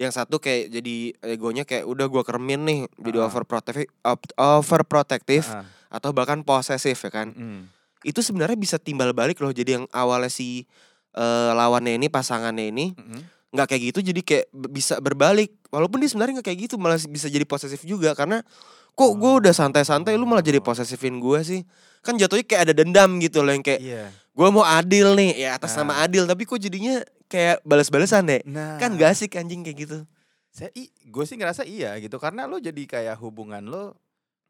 [SPEAKER 2] Yang satu kayak jadi egonya kayak udah gua keremin nih jadi
[SPEAKER 1] Ah.
[SPEAKER 2] overprotective op- overprotective
[SPEAKER 1] Ah, Hmm.
[SPEAKER 2] atau bahkan posesif ya kan.
[SPEAKER 1] mm-mm.
[SPEAKER 2] Itu sebenarnya bisa timbal balik loh. Jadi yang awalnya si eh, lawannya ini pasangannya ini
[SPEAKER 1] Mm-mm.
[SPEAKER 2] nggak kayak gitu jadi kayak b- bisa berbalik. Walaupun dia sebenarnya nggak kayak gitu malah bisa jadi posesif juga karena kok gue
[SPEAKER 1] Hmm.
[SPEAKER 2] udah santai-santai lu malah
[SPEAKER 1] Oh.
[SPEAKER 2] jadi posesifin gue sih. Kan jatuhnya kayak ada dendam gitu loh yang kayak
[SPEAKER 1] Iya.
[SPEAKER 2] gue mau adil nih ya atas
[SPEAKER 1] Nah.
[SPEAKER 2] nama adil tapi kok jadinya kayak balas-balasan deh.
[SPEAKER 1] Nah,
[SPEAKER 2] Kan gak asik anjing kayak gitu.
[SPEAKER 1] Saya gue sih ngerasa iya gitu karena lo jadi kayak hubungan lo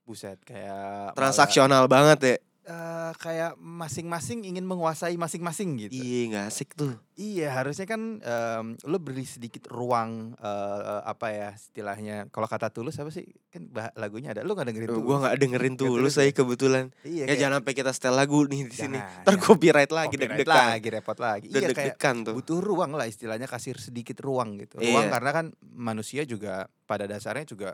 [SPEAKER 1] buset kayak malah,
[SPEAKER 2] transaksional banget ya.
[SPEAKER 1] eh, kayak masing-masing ingin menguasai masing-masing gitu.
[SPEAKER 2] Iya nggak asik tuh.
[SPEAKER 1] Iya harusnya kan em, lo beri sedikit ruang eh, apa ya istilahnya kalau kata tulus apa sih kan bah- lagunya ada lo gak dengerin
[SPEAKER 2] Gue
[SPEAKER 1] tulus?
[SPEAKER 2] nggak dengerin
[SPEAKER 1] Nggak
[SPEAKER 2] tuh lu
[SPEAKER 1] tulus
[SPEAKER 2] saya
[SPEAKER 1] ya?
[SPEAKER 2] kebetulan.
[SPEAKER 1] Iya
[SPEAKER 2] Ya jangan sampai kita setel lagu nih di sini.
[SPEAKER 1] Jangan,
[SPEAKER 2] Ntar
[SPEAKER 1] jangan.
[SPEAKER 2] copyright lagi
[SPEAKER 1] lagi
[SPEAKER 2] deg-degan.
[SPEAKER 1] lagi repot lagi. Iya kayak
[SPEAKER 2] Deg-degan tuh.
[SPEAKER 1] butuh ruang lah istilahnya kasih sedikit ruang gitu. Ruang
[SPEAKER 2] Iya.
[SPEAKER 1] karena kan manusia juga pada dasarnya juga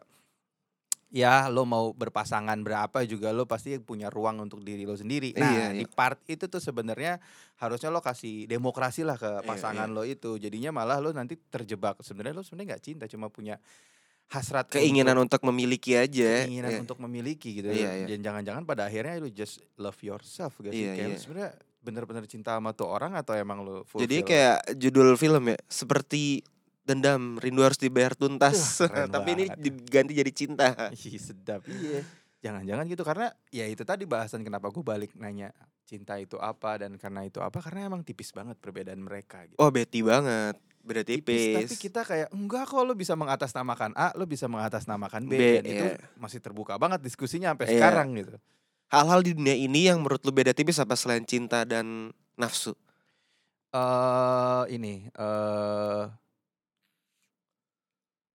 [SPEAKER 1] ya lo mau berpasangan berapa juga lo pasti punya ruang untuk diri lo sendiri. Nah
[SPEAKER 2] Iya, iya.
[SPEAKER 1] di part itu tuh sebenarnya harusnya lo kasih demokrasi lah ke
[SPEAKER 2] Iya,
[SPEAKER 1] pasangan lo itu. Jadinya malah lo nanti terjebak. Sebenarnya lo sebenarnya nggak cinta cuma punya hasrat untuk-
[SPEAKER 2] Keinginan untuk memiliki aja.
[SPEAKER 1] keinginan
[SPEAKER 2] Iya.
[SPEAKER 1] untuk memiliki gitu.
[SPEAKER 2] Iya, iya.
[SPEAKER 1] Dan jangan-jangan pada akhirnya lu just love yourself gak sih?
[SPEAKER 2] Iya,
[SPEAKER 1] kayak lu
[SPEAKER 2] iya.
[SPEAKER 1] sebenarnya bener-bener cinta sama tuh orang atau emang lu full
[SPEAKER 2] Jadi kayak judul film ya seperti dendam rindu harus dibayar tuntas.
[SPEAKER 1] Duh, keren
[SPEAKER 2] Tapi ini
[SPEAKER 1] banget.
[SPEAKER 2] diganti jadi cinta.
[SPEAKER 1] sedap. Iya. Jangan-jangan gitu karena ya itu tadi bahasan kenapa gue balik nanya cinta itu apa dan karena itu apa karena emang tipis banget perbedaan mereka gitu.
[SPEAKER 2] Oh beti banget. Beda tipis.
[SPEAKER 1] Tapi kita kayak enggak kok lo bisa mengatasnamakan A, lo bisa mengatasnamakan B,
[SPEAKER 2] B,
[SPEAKER 1] dan itu
[SPEAKER 2] iya.
[SPEAKER 1] masih terbuka banget diskusinya sampai
[SPEAKER 2] Iya.
[SPEAKER 1] sekarang gitu.
[SPEAKER 2] Hal-hal di dunia ini yang menurut lu beda tipis apa selain cinta dan nafsu?
[SPEAKER 1] eh ini eh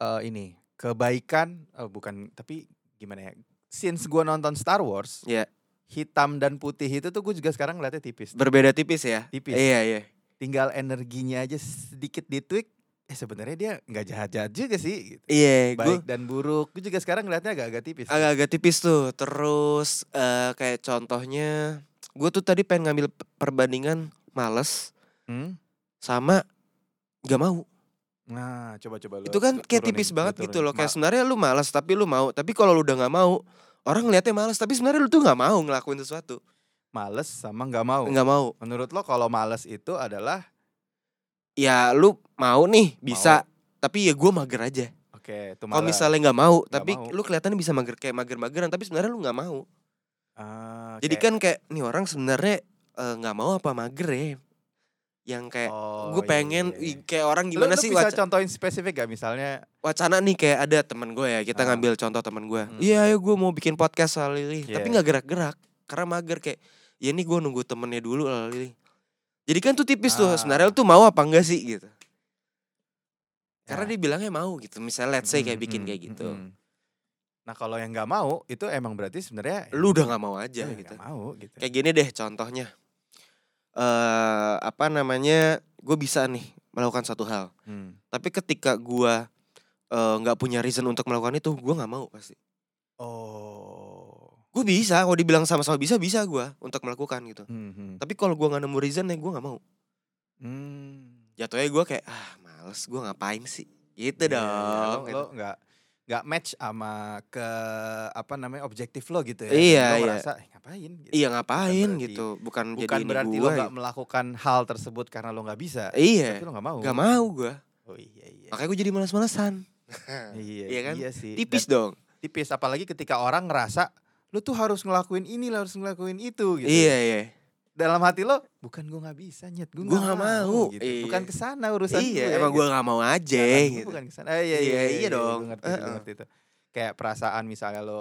[SPEAKER 1] eh, ini kebaikan eh, bukan tapi gimana ya? Since gua nonton Star Wars,
[SPEAKER 2] Iya.
[SPEAKER 1] hitam dan putih itu tuh gue juga sekarang ngeliatnya tipis.
[SPEAKER 2] Berbeda tipis ya.
[SPEAKER 1] Tipis.
[SPEAKER 2] Iya iya.
[SPEAKER 1] Tinggal energinya aja sedikit ditweak. Eh sebenarnya dia nggak jahat-jahat juga sih. Gitu.
[SPEAKER 2] Iya. Gue
[SPEAKER 1] Baik dan buruk. Gue juga sekarang ngeliatnya agak-agak tipis.
[SPEAKER 2] agak-agak tipis tuh. Terus eh, kayak contohnya, gue tuh tadi pengen ngambil p- perbandingan males
[SPEAKER 1] Hmm?
[SPEAKER 2] sama gak mau.
[SPEAKER 1] Nah, coba-coba lu.
[SPEAKER 2] itu kan
[SPEAKER 1] tu-
[SPEAKER 2] kayak
[SPEAKER 1] turunin,
[SPEAKER 2] tipis
[SPEAKER 1] lu
[SPEAKER 2] banget gitu
[SPEAKER 1] turunin.
[SPEAKER 2] loh kayak
[SPEAKER 1] Ma-
[SPEAKER 2] sebenarnya lu malas tapi lu mau tapi kalau lu udah nggak mau orang ngeliatnya malas tapi sebenarnya lu tuh nggak mau ngelakuin sesuatu
[SPEAKER 1] males sama nggak mau.
[SPEAKER 2] nggak mau
[SPEAKER 1] Menurut lo kalau males itu adalah
[SPEAKER 2] ya lu mau nih bisa tapi ya gue mager aja
[SPEAKER 1] oke, itu
[SPEAKER 2] kalau
[SPEAKER 1] males.
[SPEAKER 2] misalnya nggak mau tapi
[SPEAKER 1] mau.
[SPEAKER 2] lu kelihatannya bisa mager kayak mager-mageran tapi sebenarnya lu nggak mau
[SPEAKER 1] Ah,
[SPEAKER 2] jadi
[SPEAKER 1] kayak-
[SPEAKER 2] kan kayak nih orang sebenarnya eh, nggak mau apa mager ya yang kan kayak
[SPEAKER 1] Oh,
[SPEAKER 2] gue
[SPEAKER 1] iya,
[SPEAKER 2] pengen
[SPEAKER 1] iya, iya.
[SPEAKER 2] ih, kayak orang
[SPEAKER 1] Lu- lu
[SPEAKER 2] gimana sih
[SPEAKER 1] bisa
[SPEAKER 2] waca-
[SPEAKER 1] contohin spesifik gak misalnya
[SPEAKER 2] wacana nih kayak ada temen gue ya kita
[SPEAKER 1] Ah.
[SPEAKER 2] ngambil contoh temen gue
[SPEAKER 1] Hmm.
[SPEAKER 2] iya ayo gue mau bikin podcast soal Lili
[SPEAKER 1] Iya.
[SPEAKER 2] tapi nggak gerak-gerak karena mager kayak ya nih gue nunggu temennya dulu lah Lili jadi kan tuh tipis tuh
[SPEAKER 1] Ah.
[SPEAKER 2] sebenarnya lu tuh mau apa enggak sih gitu karena
[SPEAKER 1] Ya.
[SPEAKER 2] dia bilangnya mau gitu misalnya let's say kayak
[SPEAKER 1] Mm,
[SPEAKER 2] bikin
[SPEAKER 1] mm,
[SPEAKER 2] kayak
[SPEAKER 1] mm,
[SPEAKER 2] gitu
[SPEAKER 1] mm. Nah, kalau yang nggak mau itu emang berarti sebenarnya
[SPEAKER 2] lu udah nggak mau
[SPEAKER 1] ya,
[SPEAKER 2] aja
[SPEAKER 1] nggak
[SPEAKER 2] gitu
[SPEAKER 1] mau gitu.
[SPEAKER 2] kayak gini deh contohnya eh apa namanya gue bisa nih melakukan satu hal
[SPEAKER 1] Hmm.
[SPEAKER 2] tapi ketika gue eh, nggak punya reason untuk melakukan itu gue nggak mau pasti
[SPEAKER 1] Oh.
[SPEAKER 2] gue bisa kalau dibilang sama-sama bisa bisa gue untuk melakukan gitu
[SPEAKER 1] Hmm, hmm.
[SPEAKER 2] tapi kalau gue nggak nemu reason ya gue nggak mau
[SPEAKER 1] Hmm.
[SPEAKER 2] jatuhnya gue kayak ah males gue ngapain sih gitu
[SPEAKER 1] Iya, iya, iya.
[SPEAKER 2] dong
[SPEAKER 1] Lo-
[SPEAKER 2] gitu.
[SPEAKER 1] Lo nggak nggak match sama ke apa namanya objektif lo gitu ya.
[SPEAKER 2] Iya,
[SPEAKER 1] Lo
[SPEAKER 2] iya.
[SPEAKER 1] merasa "Eh, ngapain gitu.
[SPEAKER 2] iya ngapain
[SPEAKER 1] berarti-
[SPEAKER 2] gitu bukan
[SPEAKER 1] Bukan
[SPEAKER 2] jadi
[SPEAKER 1] berarti
[SPEAKER 2] ini
[SPEAKER 1] lo
[SPEAKER 2] gua,
[SPEAKER 1] nggak
[SPEAKER 2] gitu.
[SPEAKER 1] melakukan hal tersebut karena lo nggak bisa.
[SPEAKER 2] iya
[SPEAKER 1] Tapi lo nggak mau.
[SPEAKER 2] nggak mau gue
[SPEAKER 1] Oh iya iya.
[SPEAKER 2] makanya gue jadi malas-malasan
[SPEAKER 1] Iya,
[SPEAKER 2] Iya kan?
[SPEAKER 1] iya sih.
[SPEAKER 2] tipis
[SPEAKER 1] Dan
[SPEAKER 2] dong
[SPEAKER 1] tipis apalagi ketika orang ngerasa lo tuh harus ngelakuin ini, lo harus ngelakuin itu gitu.
[SPEAKER 2] iya iya
[SPEAKER 1] Dalam hati lo bukan gue nggak bisa nyet, gue
[SPEAKER 2] Gua nggak mau,
[SPEAKER 1] gitu.
[SPEAKER 2] iya.
[SPEAKER 1] Bukan kesana urusan
[SPEAKER 2] iya
[SPEAKER 1] gue,
[SPEAKER 2] emang
[SPEAKER 1] gitu.
[SPEAKER 2] gue nggak mau aja
[SPEAKER 1] Jangan, gua
[SPEAKER 2] gitu
[SPEAKER 1] bukan kesana. Ah, iya, iya,
[SPEAKER 2] Iya,
[SPEAKER 1] iya,
[SPEAKER 2] iya
[SPEAKER 1] gua
[SPEAKER 2] dong.
[SPEAKER 1] ngerti, gua
[SPEAKER 2] Heeh.
[SPEAKER 1] ngerti tuh. Kayak perasaan misalnya lo.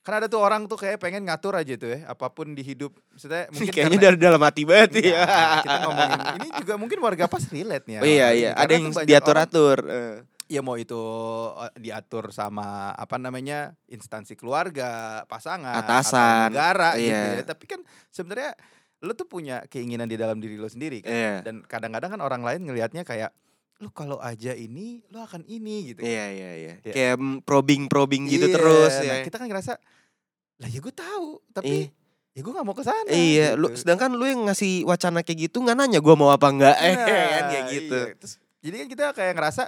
[SPEAKER 1] Kan ada tuh orang tuh kayak pengen ngatur aja tuh ya, apapun di hidup. Maksudnya mungkin
[SPEAKER 2] kayaknya
[SPEAKER 1] karena-
[SPEAKER 2] dari dalam hati banget ya
[SPEAKER 1] Nah, kita ngomongin ini juga mungkin warga pas relate nih.
[SPEAKER 2] Oh, iya
[SPEAKER 1] sama ini.
[SPEAKER 2] iya ada
[SPEAKER 1] Karena
[SPEAKER 2] yang
[SPEAKER 1] tuh banyak
[SPEAKER 2] diatur
[SPEAKER 1] orang-
[SPEAKER 2] atur eh.
[SPEAKER 1] Ya mau itu eh, diatur sama apa namanya? instansi keluarga, pasangan, atau
[SPEAKER 2] Atasan,
[SPEAKER 1] negara gitu ya.
[SPEAKER 2] iya.
[SPEAKER 1] Tapi kan sebenarnya lo tuh punya keinginan di dalam diri lo sendiri kan?
[SPEAKER 2] iya
[SPEAKER 1] dan kadang-kadang kan orang lain ngelihatnya kayak lu kalau aja ini lu akan ini gitu
[SPEAKER 2] Iya iya iya.
[SPEAKER 1] Kayak-
[SPEAKER 2] Kayak probing probing gitu
[SPEAKER 1] Iya,
[SPEAKER 2] terus ya.
[SPEAKER 1] nah, kita kan ngerasa lah ya gue tahu tapi
[SPEAKER 2] Iya.
[SPEAKER 1] ya gue nggak mau ke sana
[SPEAKER 2] Iya, lu
[SPEAKER 1] gitu.
[SPEAKER 2] sedangkan lu yang ngasih wacana kayak gitu nggak nanya gua mau apa enggak eh
[SPEAKER 1] Nah,
[SPEAKER 2] kan kayak gitu.
[SPEAKER 1] iya. Terus, jadi kan kita kayak ngerasa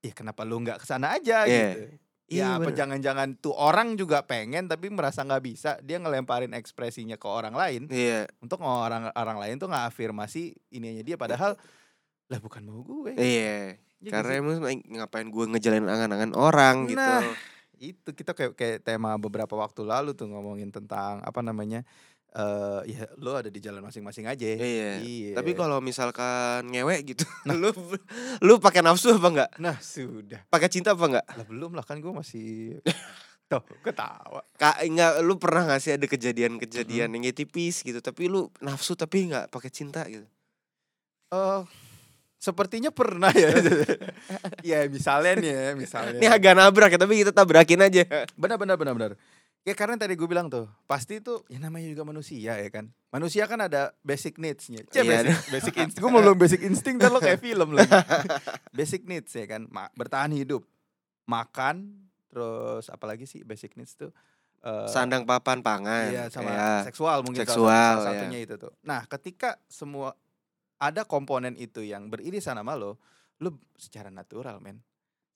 [SPEAKER 1] ya kenapa lu nggak ke sana aja
[SPEAKER 2] Iya.
[SPEAKER 1] gitu ya
[SPEAKER 2] Iya,
[SPEAKER 1] apa
[SPEAKER 2] bener.
[SPEAKER 1] jangan-jangan tuh orang juga pengen tapi merasa nggak bisa dia ngelemparin ekspresinya ke orang lain
[SPEAKER 2] Iya.
[SPEAKER 1] untuk orang orang lain tuh nggak afirmasi ininya dia padahal lah bukan mau gue Ya
[SPEAKER 2] Iya.
[SPEAKER 1] nggak
[SPEAKER 2] Karena
[SPEAKER 1] sih?
[SPEAKER 2] emang ngapain gua ngejalanin angan-angan orang gitu.
[SPEAKER 1] Nah, itu kita kayak kayak tema beberapa waktu lalu tuh ngomongin tentang apa namanya eh ya lo ada di jalan masing-masing aja
[SPEAKER 2] Iya.
[SPEAKER 1] Iya.
[SPEAKER 2] Tapi kalau misalkan ngewek gitu, lu lu pakai nafsu apa enggak?
[SPEAKER 1] nah sudah
[SPEAKER 2] Pakai cinta apa enggak?
[SPEAKER 1] lah belum lah kan gue masih tuh ketawa
[SPEAKER 2] Kak, enggak lu pernah nggak sih ada kejadian-kejadian yang kayak tipis gitu, tapi lu nafsu tapi nggak pakai cinta gitu.
[SPEAKER 1] Eh sepertinya pernah ya ya misalnya nih ya misalnya
[SPEAKER 2] Ini agak nabrak ya, tapi kita tabrakin aja.
[SPEAKER 1] benar benar benar benar ya karena tadi gue bilang tuh pasti itu ya namanya juga manusia ya kan manusia kan ada basic needs-nya Cie, basic,
[SPEAKER 2] Iya,
[SPEAKER 1] basic instinct gue mau bilang basic instinct dan lo kayak film lagi basic needs ya kan Ma- bertahan hidup makan terus apalagi sih basic needs tuh eh,
[SPEAKER 2] sandang papan pangan.
[SPEAKER 1] iya sama
[SPEAKER 2] Iya.
[SPEAKER 1] seksual mungkin salah satu-
[SPEAKER 2] Seksual,
[SPEAKER 1] salah
[SPEAKER 2] ya.
[SPEAKER 1] satunya itu tuh nah ketika semua ada komponen itu yang beririsan sama lo lo secara natural men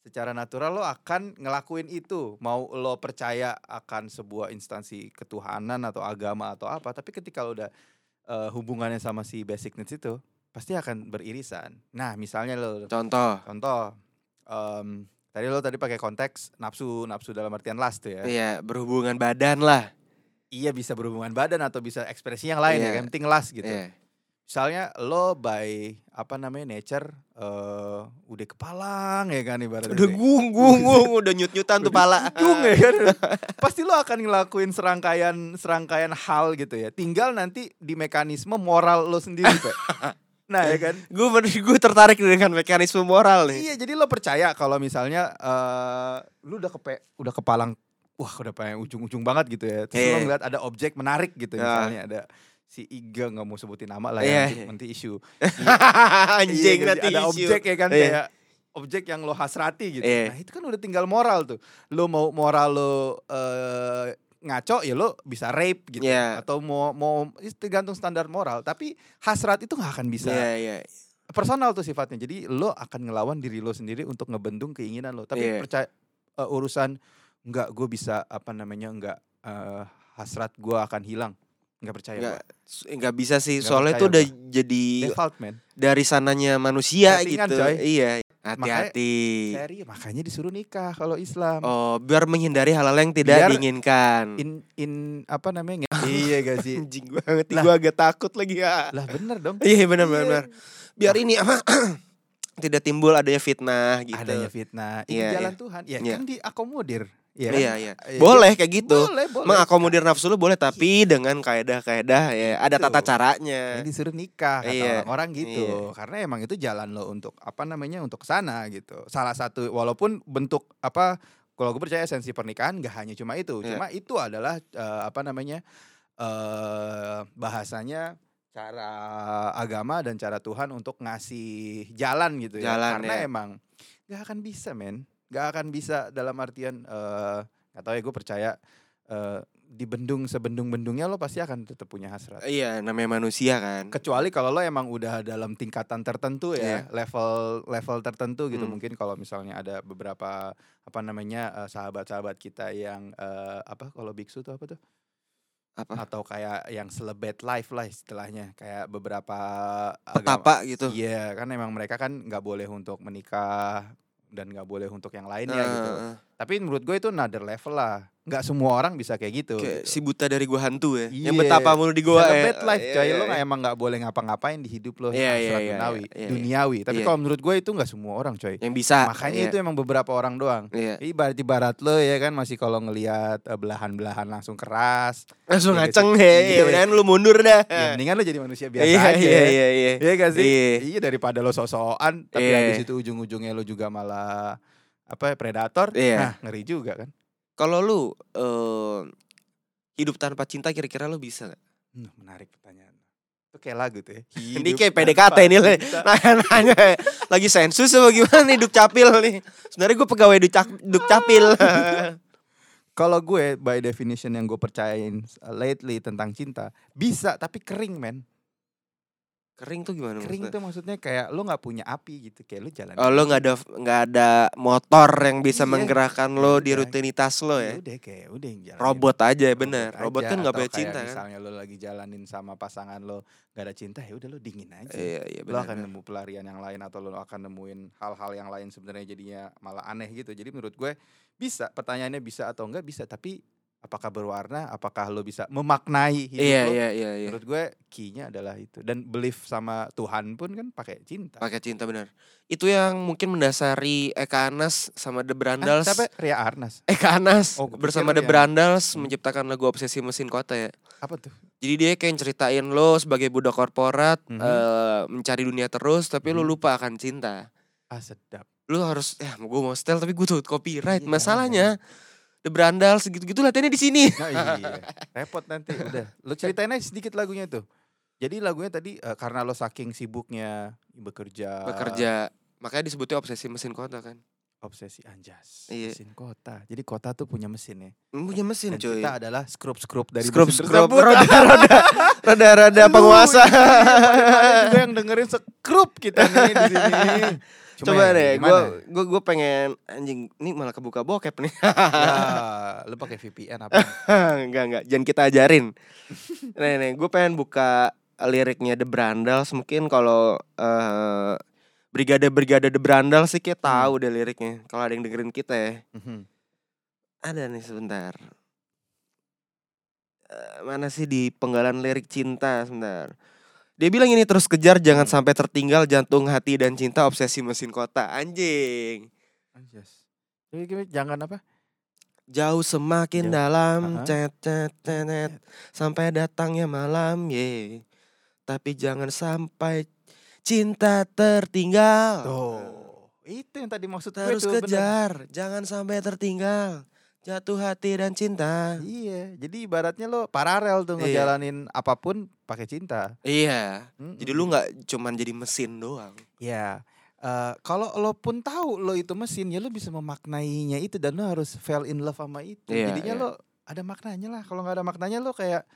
[SPEAKER 1] secara natural lo akan ngelakuin itu mau lo percaya akan sebuah instansi ketuhanan atau agama atau apa tapi ketika lo udah eh, hubungannya sama si basic needs itu pasti akan beririsan nah misalnya lo
[SPEAKER 2] Contoh.
[SPEAKER 1] Contoh, em, tadi lo tadi pakai konteks nafsu, nafsu dalam artian lust tuh ya.
[SPEAKER 2] Iya, berhubungan badan lah.
[SPEAKER 1] Iya bisa berhubungan badan atau bisa ekspresi yang lain
[SPEAKER 2] Iya.
[SPEAKER 1] ya, kan? yang penting lust gitu.
[SPEAKER 2] Iya.
[SPEAKER 1] Misalnya lo by apa namanya nature eh udah kepalang ya kan ibaratnya.
[SPEAKER 2] Udah
[SPEAKER 1] nih.
[SPEAKER 2] gung gung gung, udah nyut-nyutan tuh
[SPEAKER 1] Udah
[SPEAKER 2] pala.
[SPEAKER 1] Gung ya kan. Pasti lo akan ngelakuin serangkaian serangkaian hal gitu ya. Tinggal nanti di mekanisme moral lo sendiri, Pak. Nah, ya kan?
[SPEAKER 2] Gue gue tertarik dengan mekanisme moral nih.
[SPEAKER 1] Iya, jadi lo percaya kalau misalnya eh lu udah kepe udah kepalang wah udah pengen ujung-ujung banget gitu ya. Terus lo
[SPEAKER 2] Iya.
[SPEAKER 1] ngeliat ada objek menarik gitu
[SPEAKER 2] Ya.
[SPEAKER 1] misalnya ada si Iga nggak mau sebutin nama lah
[SPEAKER 2] Iya,
[SPEAKER 1] ya nanti,
[SPEAKER 2] iya.
[SPEAKER 1] nanti isu.
[SPEAKER 2] Anjing
[SPEAKER 1] Iya,
[SPEAKER 2] nanti
[SPEAKER 1] ada
[SPEAKER 2] isu.
[SPEAKER 1] objek ya kan
[SPEAKER 2] Iya.
[SPEAKER 1] kayak objek yang lo hasrati gitu.
[SPEAKER 2] Iya.
[SPEAKER 1] Nah, itu kan udah tinggal moral tuh. Lo mau moral lo eh, ngaco ya lo bisa rape gitu
[SPEAKER 2] Iya.
[SPEAKER 1] atau mau mau itu tergantung standar moral, tapi hasrat itu nggak akan bisa
[SPEAKER 2] Iya, iya.
[SPEAKER 1] personal tuh sifatnya. Jadi lo akan ngelawan diri lo sendiri untuk ngebendung keinginan lo. Tapi
[SPEAKER 2] Iya.
[SPEAKER 1] percaya eh, urusan nggak gue bisa apa namanya nggak eh, hasrat gue akan hilang. Nggak percaya.
[SPEAKER 2] nggak
[SPEAKER 1] Gak.
[SPEAKER 2] nggak bisa sih
[SPEAKER 1] Nggak
[SPEAKER 2] soalnya
[SPEAKER 1] percaya
[SPEAKER 2] itu udah jadi
[SPEAKER 1] Default man.
[SPEAKER 2] dari sananya manusia
[SPEAKER 1] Settingan,
[SPEAKER 2] gitu
[SPEAKER 1] coy.
[SPEAKER 2] iya hati-hati
[SPEAKER 1] Seri makanya disuruh nikah kalau Islam.
[SPEAKER 2] iya. oh biar menghindari hal-hal yang tidak
[SPEAKER 1] Biar-
[SPEAKER 2] diinginkan
[SPEAKER 1] In in apa namanya? nge- iya gak sih?
[SPEAKER 2] anjing banget
[SPEAKER 1] Lah.
[SPEAKER 2] gue agak takut lagi ya
[SPEAKER 1] lah bener dong.
[SPEAKER 2] iya benar benar
[SPEAKER 1] Iya.
[SPEAKER 2] benar. biar ini apa tidak timbul adanya fitnah gitu
[SPEAKER 1] Iya, Adanya fitnah. Ini
[SPEAKER 2] Iya,
[SPEAKER 1] jalan Tuhan. Ya
[SPEAKER 2] Iya.
[SPEAKER 1] kan diakomodir. Ya kan?
[SPEAKER 2] iya iya
[SPEAKER 1] Iya,
[SPEAKER 2] boleh kayak gitu
[SPEAKER 1] Boleh, boleh.
[SPEAKER 2] mengakomodir
[SPEAKER 1] kan?
[SPEAKER 2] nafsu lu boleh tapi dengan kaedah-kaedah ya ada tata
[SPEAKER 1] Iya. Gitu.
[SPEAKER 2] caranya
[SPEAKER 1] Yang disuruh nikah kata
[SPEAKER 2] Iya,
[SPEAKER 1] orang-orang gitu. Karena emang itu jalan lo untuk apa namanya untuk sana gitu. Salah satu walaupun bentuk apa kalau gue percaya esensi pernikahan gak hanya cuma itu.
[SPEAKER 2] Iya.
[SPEAKER 1] Cuma itu adalah eh, apa namanya eh bahasanya cara agama dan cara Tuhan untuk ngasih jalan gitu ya.
[SPEAKER 2] Jalan,
[SPEAKER 1] Karena
[SPEAKER 2] ya.
[SPEAKER 1] emang gak akan bisa men. Gak akan bisa dalam artian eh gak tau ya gue percaya eh dibendung sebendung-bendungnya lo pasti akan tetap punya hasrat
[SPEAKER 2] iya namanya manusia kan
[SPEAKER 1] kecuali kalau lo emang udah dalam tingkatan tertentu ya level level tertentu gitu
[SPEAKER 2] Iya. Hmm.
[SPEAKER 1] mungkin kalau misalnya ada beberapa apa namanya eh, sahabat-sahabat kita yang eh, apa kalau biksu tuh apa tuh
[SPEAKER 2] apa
[SPEAKER 1] atau kayak yang selebet life lah istilahnya kayak beberapa agama-
[SPEAKER 2] petapa gitu
[SPEAKER 1] iya kan emang mereka kan nggak boleh untuk menikah dan nggak boleh untuk yang lainnya gitu
[SPEAKER 2] Eh, eh.
[SPEAKER 1] tapi menurut gue itu another level lah nggak semua orang bisa kayak gitu gitu.
[SPEAKER 2] Kayak si buta dari gua hantu ya yang
[SPEAKER 1] Iya.
[SPEAKER 2] betapa mulu di gua ya
[SPEAKER 1] Celebet life coy
[SPEAKER 2] Iya,
[SPEAKER 1] Lo
[SPEAKER 2] iya,
[SPEAKER 1] nggak- emang gak boleh ngapa-ngapain di hidup lo
[SPEAKER 2] Iya, iya,
[SPEAKER 1] akhirat
[SPEAKER 2] iya,
[SPEAKER 1] duniawi,
[SPEAKER 2] iya, iya.
[SPEAKER 1] duniawi. Tapi
[SPEAKER 2] Iya.
[SPEAKER 1] kalau menurut gue itu gak semua orang coy
[SPEAKER 2] iya. yang bisa
[SPEAKER 1] Makanya itu emang beberapa orang doang
[SPEAKER 2] iya.
[SPEAKER 1] Ibarat ibarat lo ya kan masih kalau ngelihat eh, belahan-belahan langsung keras
[SPEAKER 2] langsung
[SPEAKER 1] Iya,
[SPEAKER 2] ngaceng
[SPEAKER 1] gitu. Iya.
[SPEAKER 2] heh mendingan lu mundur dah
[SPEAKER 1] ya, Mendingan lo jadi manusia biasa
[SPEAKER 2] iya
[SPEAKER 1] aja
[SPEAKER 2] iya iya iya
[SPEAKER 1] Iya gak sih?
[SPEAKER 2] Iya.
[SPEAKER 1] Iya daripada lo sosokan Tapi
[SPEAKER 2] Iya.
[SPEAKER 1] habis itu ujung-ujungnya lo juga malah apa ya, predator
[SPEAKER 2] Iya.
[SPEAKER 1] Nah ngeri juga kan
[SPEAKER 2] kalau lu eh, hidup tanpa cinta kira-kira lu bisa gak?
[SPEAKER 1] Hmm, Menarik pertanyaan Itu kayak lagu tuh ya
[SPEAKER 2] Ini
[SPEAKER 1] Hidup
[SPEAKER 2] kayak
[SPEAKER 1] tanpa
[SPEAKER 2] PDKT nih, Le.
[SPEAKER 1] cinta.
[SPEAKER 2] Nanya, nanya lagi sensus apa gimana nih dukcapil nih sebenarnya gue pegawai dukcap dukcapil
[SPEAKER 1] Kalau gue by definition yang gue percayain uh, lately tentang cinta bisa tapi kering men.
[SPEAKER 2] kering tuh gimana
[SPEAKER 1] Kering
[SPEAKER 2] maksudnya?
[SPEAKER 1] tuh maksudnya kayak lo nggak punya api gitu kayak lo jalan.
[SPEAKER 2] Oh lo nggak ada nggak ada motor yang bisa
[SPEAKER 1] Iya.
[SPEAKER 2] menggerakkan lo di
[SPEAKER 1] Iya.
[SPEAKER 2] rutinitas lo
[SPEAKER 1] Ya
[SPEAKER 2] ya
[SPEAKER 1] Udah kayak udah yang jalanin.
[SPEAKER 2] robot aja
[SPEAKER 1] Robot
[SPEAKER 2] bener robot
[SPEAKER 1] aja.
[SPEAKER 2] kan nggak
[SPEAKER 1] Atau
[SPEAKER 2] punya
[SPEAKER 1] kayak
[SPEAKER 2] cinta kan
[SPEAKER 1] Misalnya lo lagi jalanin sama pasangan lo nggak ada cinta ya udah lo dingin aja.
[SPEAKER 2] iya iya
[SPEAKER 1] Lo akan
[SPEAKER 2] benar
[SPEAKER 1] nemu pelarian yang lain atau lo akan nemuin hal-hal yang lain sebenarnya jadinya malah aneh gitu. Jadi menurut gue bisa pertanyaannya bisa atau enggak bisa tapi apakah berwarna apakah lo bisa memaknai hidup
[SPEAKER 2] iya
[SPEAKER 1] lo
[SPEAKER 2] iya iya iya
[SPEAKER 1] Menurut gue key-nya adalah itu dan belief sama Tuhan pun kan pakai cinta.
[SPEAKER 2] pakai cinta bener itu yang mungkin mendasari Eka Anas sama
[SPEAKER 1] Ah,
[SPEAKER 2] The Brandals
[SPEAKER 1] siapa ya? Ria Arnas.
[SPEAKER 2] Eka Anas
[SPEAKER 1] Oh, gua pikir
[SPEAKER 2] bersama
[SPEAKER 1] lu
[SPEAKER 2] The
[SPEAKER 1] yang-
[SPEAKER 2] Brandals
[SPEAKER 1] Hmm.
[SPEAKER 2] menciptakan lagu obsesi mesin kota ya
[SPEAKER 1] Apa tuh?
[SPEAKER 2] Jadi dia kayak ceritain lo sebagai budak korporat
[SPEAKER 1] Mhm.
[SPEAKER 2] eh, mencari dunia terus tapi lo
[SPEAKER 1] Mhm.
[SPEAKER 2] lupa akan cinta.
[SPEAKER 1] Ah sedap.
[SPEAKER 2] Lo harus ya mau gue mau setel tapi gue tuh copyright.
[SPEAKER 1] Iya,
[SPEAKER 2] Masalahnya The Brandal segitu-gitu latihannya di sini.
[SPEAKER 1] Nah, iya. Repot nanti udah. Lu ceritain aja sedikit lagunya tuh. Jadi lagunya tadi eh, karena lo saking sibuknya
[SPEAKER 2] Ah.
[SPEAKER 1] bekerja,
[SPEAKER 2] Bekerja. Makanya disebutnya obsesi mesin kota kan.
[SPEAKER 1] obsesi anjas,
[SPEAKER 2] Iya.
[SPEAKER 1] mesin kota. Jadi kota tuh punya mesin ya.
[SPEAKER 2] Lu Punya mesin
[SPEAKER 1] Dan
[SPEAKER 2] cuy.
[SPEAKER 1] kita adalah skrup skrup dari
[SPEAKER 2] Scrub
[SPEAKER 1] mesin
[SPEAKER 2] scrub
[SPEAKER 1] tersebut.
[SPEAKER 2] roda roda roda roda
[SPEAKER 1] Lu,
[SPEAKER 2] penguasa.
[SPEAKER 1] iya, kemarin juga yang dengerin skrup kita nih di sini. Cuma
[SPEAKER 2] Coba
[SPEAKER 1] ya,
[SPEAKER 2] deh, gue
[SPEAKER 1] gimana?
[SPEAKER 2] gue gue pengen anjing ini malah kebuka bokep nih.
[SPEAKER 1] ya, lu pakai VPN apa?
[SPEAKER 2] enggak enggak jangan kita ajarin nih nih gue pengen buka liriknya The Brandals mungkin kalau eh, brigade brigade The Brandals sih kayak tahu deh liriknya kalau ada yang dengerin kita ya
[SPEAKER 1] Mhm.
[SPEAKER 2] ada nih sebentar Eh, mana sih di penggalan lirik cinta sebentar dia bilang ini terus kejar jangan
[SPEAKER 1] Hmm.
[SPEAKER 2] sampai tertinggal jantung hati dan cinta obsesi mesin kota anjing
[SPEAKER 1] Anjas. Jadi gini, jangan apa?
[SPEAKER 2] jauh semakin
[SPEAKER 1] Jauh.
[SPEAKER 2] dalam
[SPEAKER 1] Aha.
[SPEAKER 2] cet cet cet, cet. sampai datangnya malam ye tapi jangan sampai cinta tertinggal
[SPEAKER 1] Tuh. Itu yang tadi maksud gue
[SPEAKER 2] harus
[SPEAKER 1] tuh, bener.
[SPEAKER 2] kejar jangan sampai tertinggal jatuh hati dan cinta
[SPEAKER 1] Iya, jadi ibaratnya lo paralel tuh
[SPEAKER 2] Iya.
[SPEAKER 1] ngejalanin apapun pakai cinta.
[SPEAKER 2] iya
[SPEAKER 1] Mm-mm.
[SPEAKER 2] jadi lu nggak cuman jadi mesin doang
[SPEAKER 1] ya eh, kalau lo pun tahu lo itu mesin ya lo bisa memaknainya itu dan lo harus fell in love sama itu.
[SPEAKER 2] Iya,
[SPEAKER 1] Jadinya
[SPEAKER 2] iya.
[SPEAKER 1] lo ada maknanya lah. Kalau nggak ada maknanya lo kayak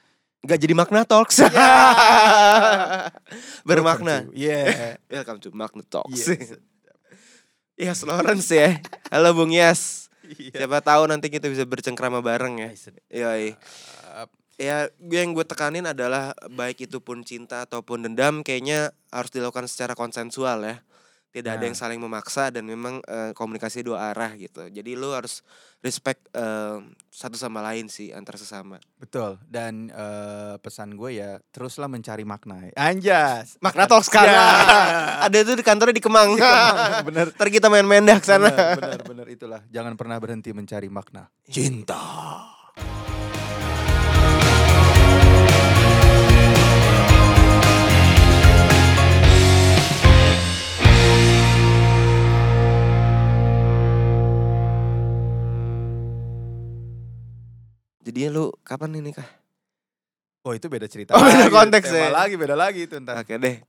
[SPEAKER 2] nggak jadi makna talks bermakna
[SPEAKER 1] Welcome to- Yeah.
[SPEAKER 2] welcome to makna talks
[SPEAKER 1] Yes.
[SPEAKER 2] Yes Lawrence ya halo Bung Yas
[SPEAKER 1] Iya.
[SPEAKER 2] siapa tahu nanti kita bisa bercengkrama bareng ya
[SPEAKER 1] Ay, sedap.
[SPEAKER 2] Yoi.
[SPEAKER 1] Eh,
[SPEAKER 2] ya gue- yang gue tekanin adalah baik itu pun cinta ataupun dendam kayaknya harus dilakukan secara konsensual ya tidak ada
[SPEAKER 1] Nah.
[SPEAKER 2] yang saling memaksa dan memang eh, komunikasi dua arah gitu jadi lu harus respect eh, satu sama lain sih antar sesama
[SPEAKER 1] Betul. Dan eh, pesan gue ya teruslah mencari makna. Anjas.
[SPEAKER 2] makna talk sekarang Ya. ada itu di kantornya di Kemang
[SPEAKER 1] bener.
[SPEAKER 2] ntar kita main-main dah ke sana
[SPEAKER 1] Bener, bener, bener itulah. Jangan pernah berhenti mencari makna. Cinta.
[SPEAKER 2] jadinya ya, lu kapan ini kah
[SPEAKER 1] Oh itu beda cerita.
[SPEAKER 2] Oh,
[SPEAKER 1] lagi,
[SPEAKER 2] beda konteks
[SPEAKER 1] tema
[SPEAKER 2] ya.
[SPEAKER 1] lagi, beda lagi itu ntar.
[SPEAKER 2] oke deh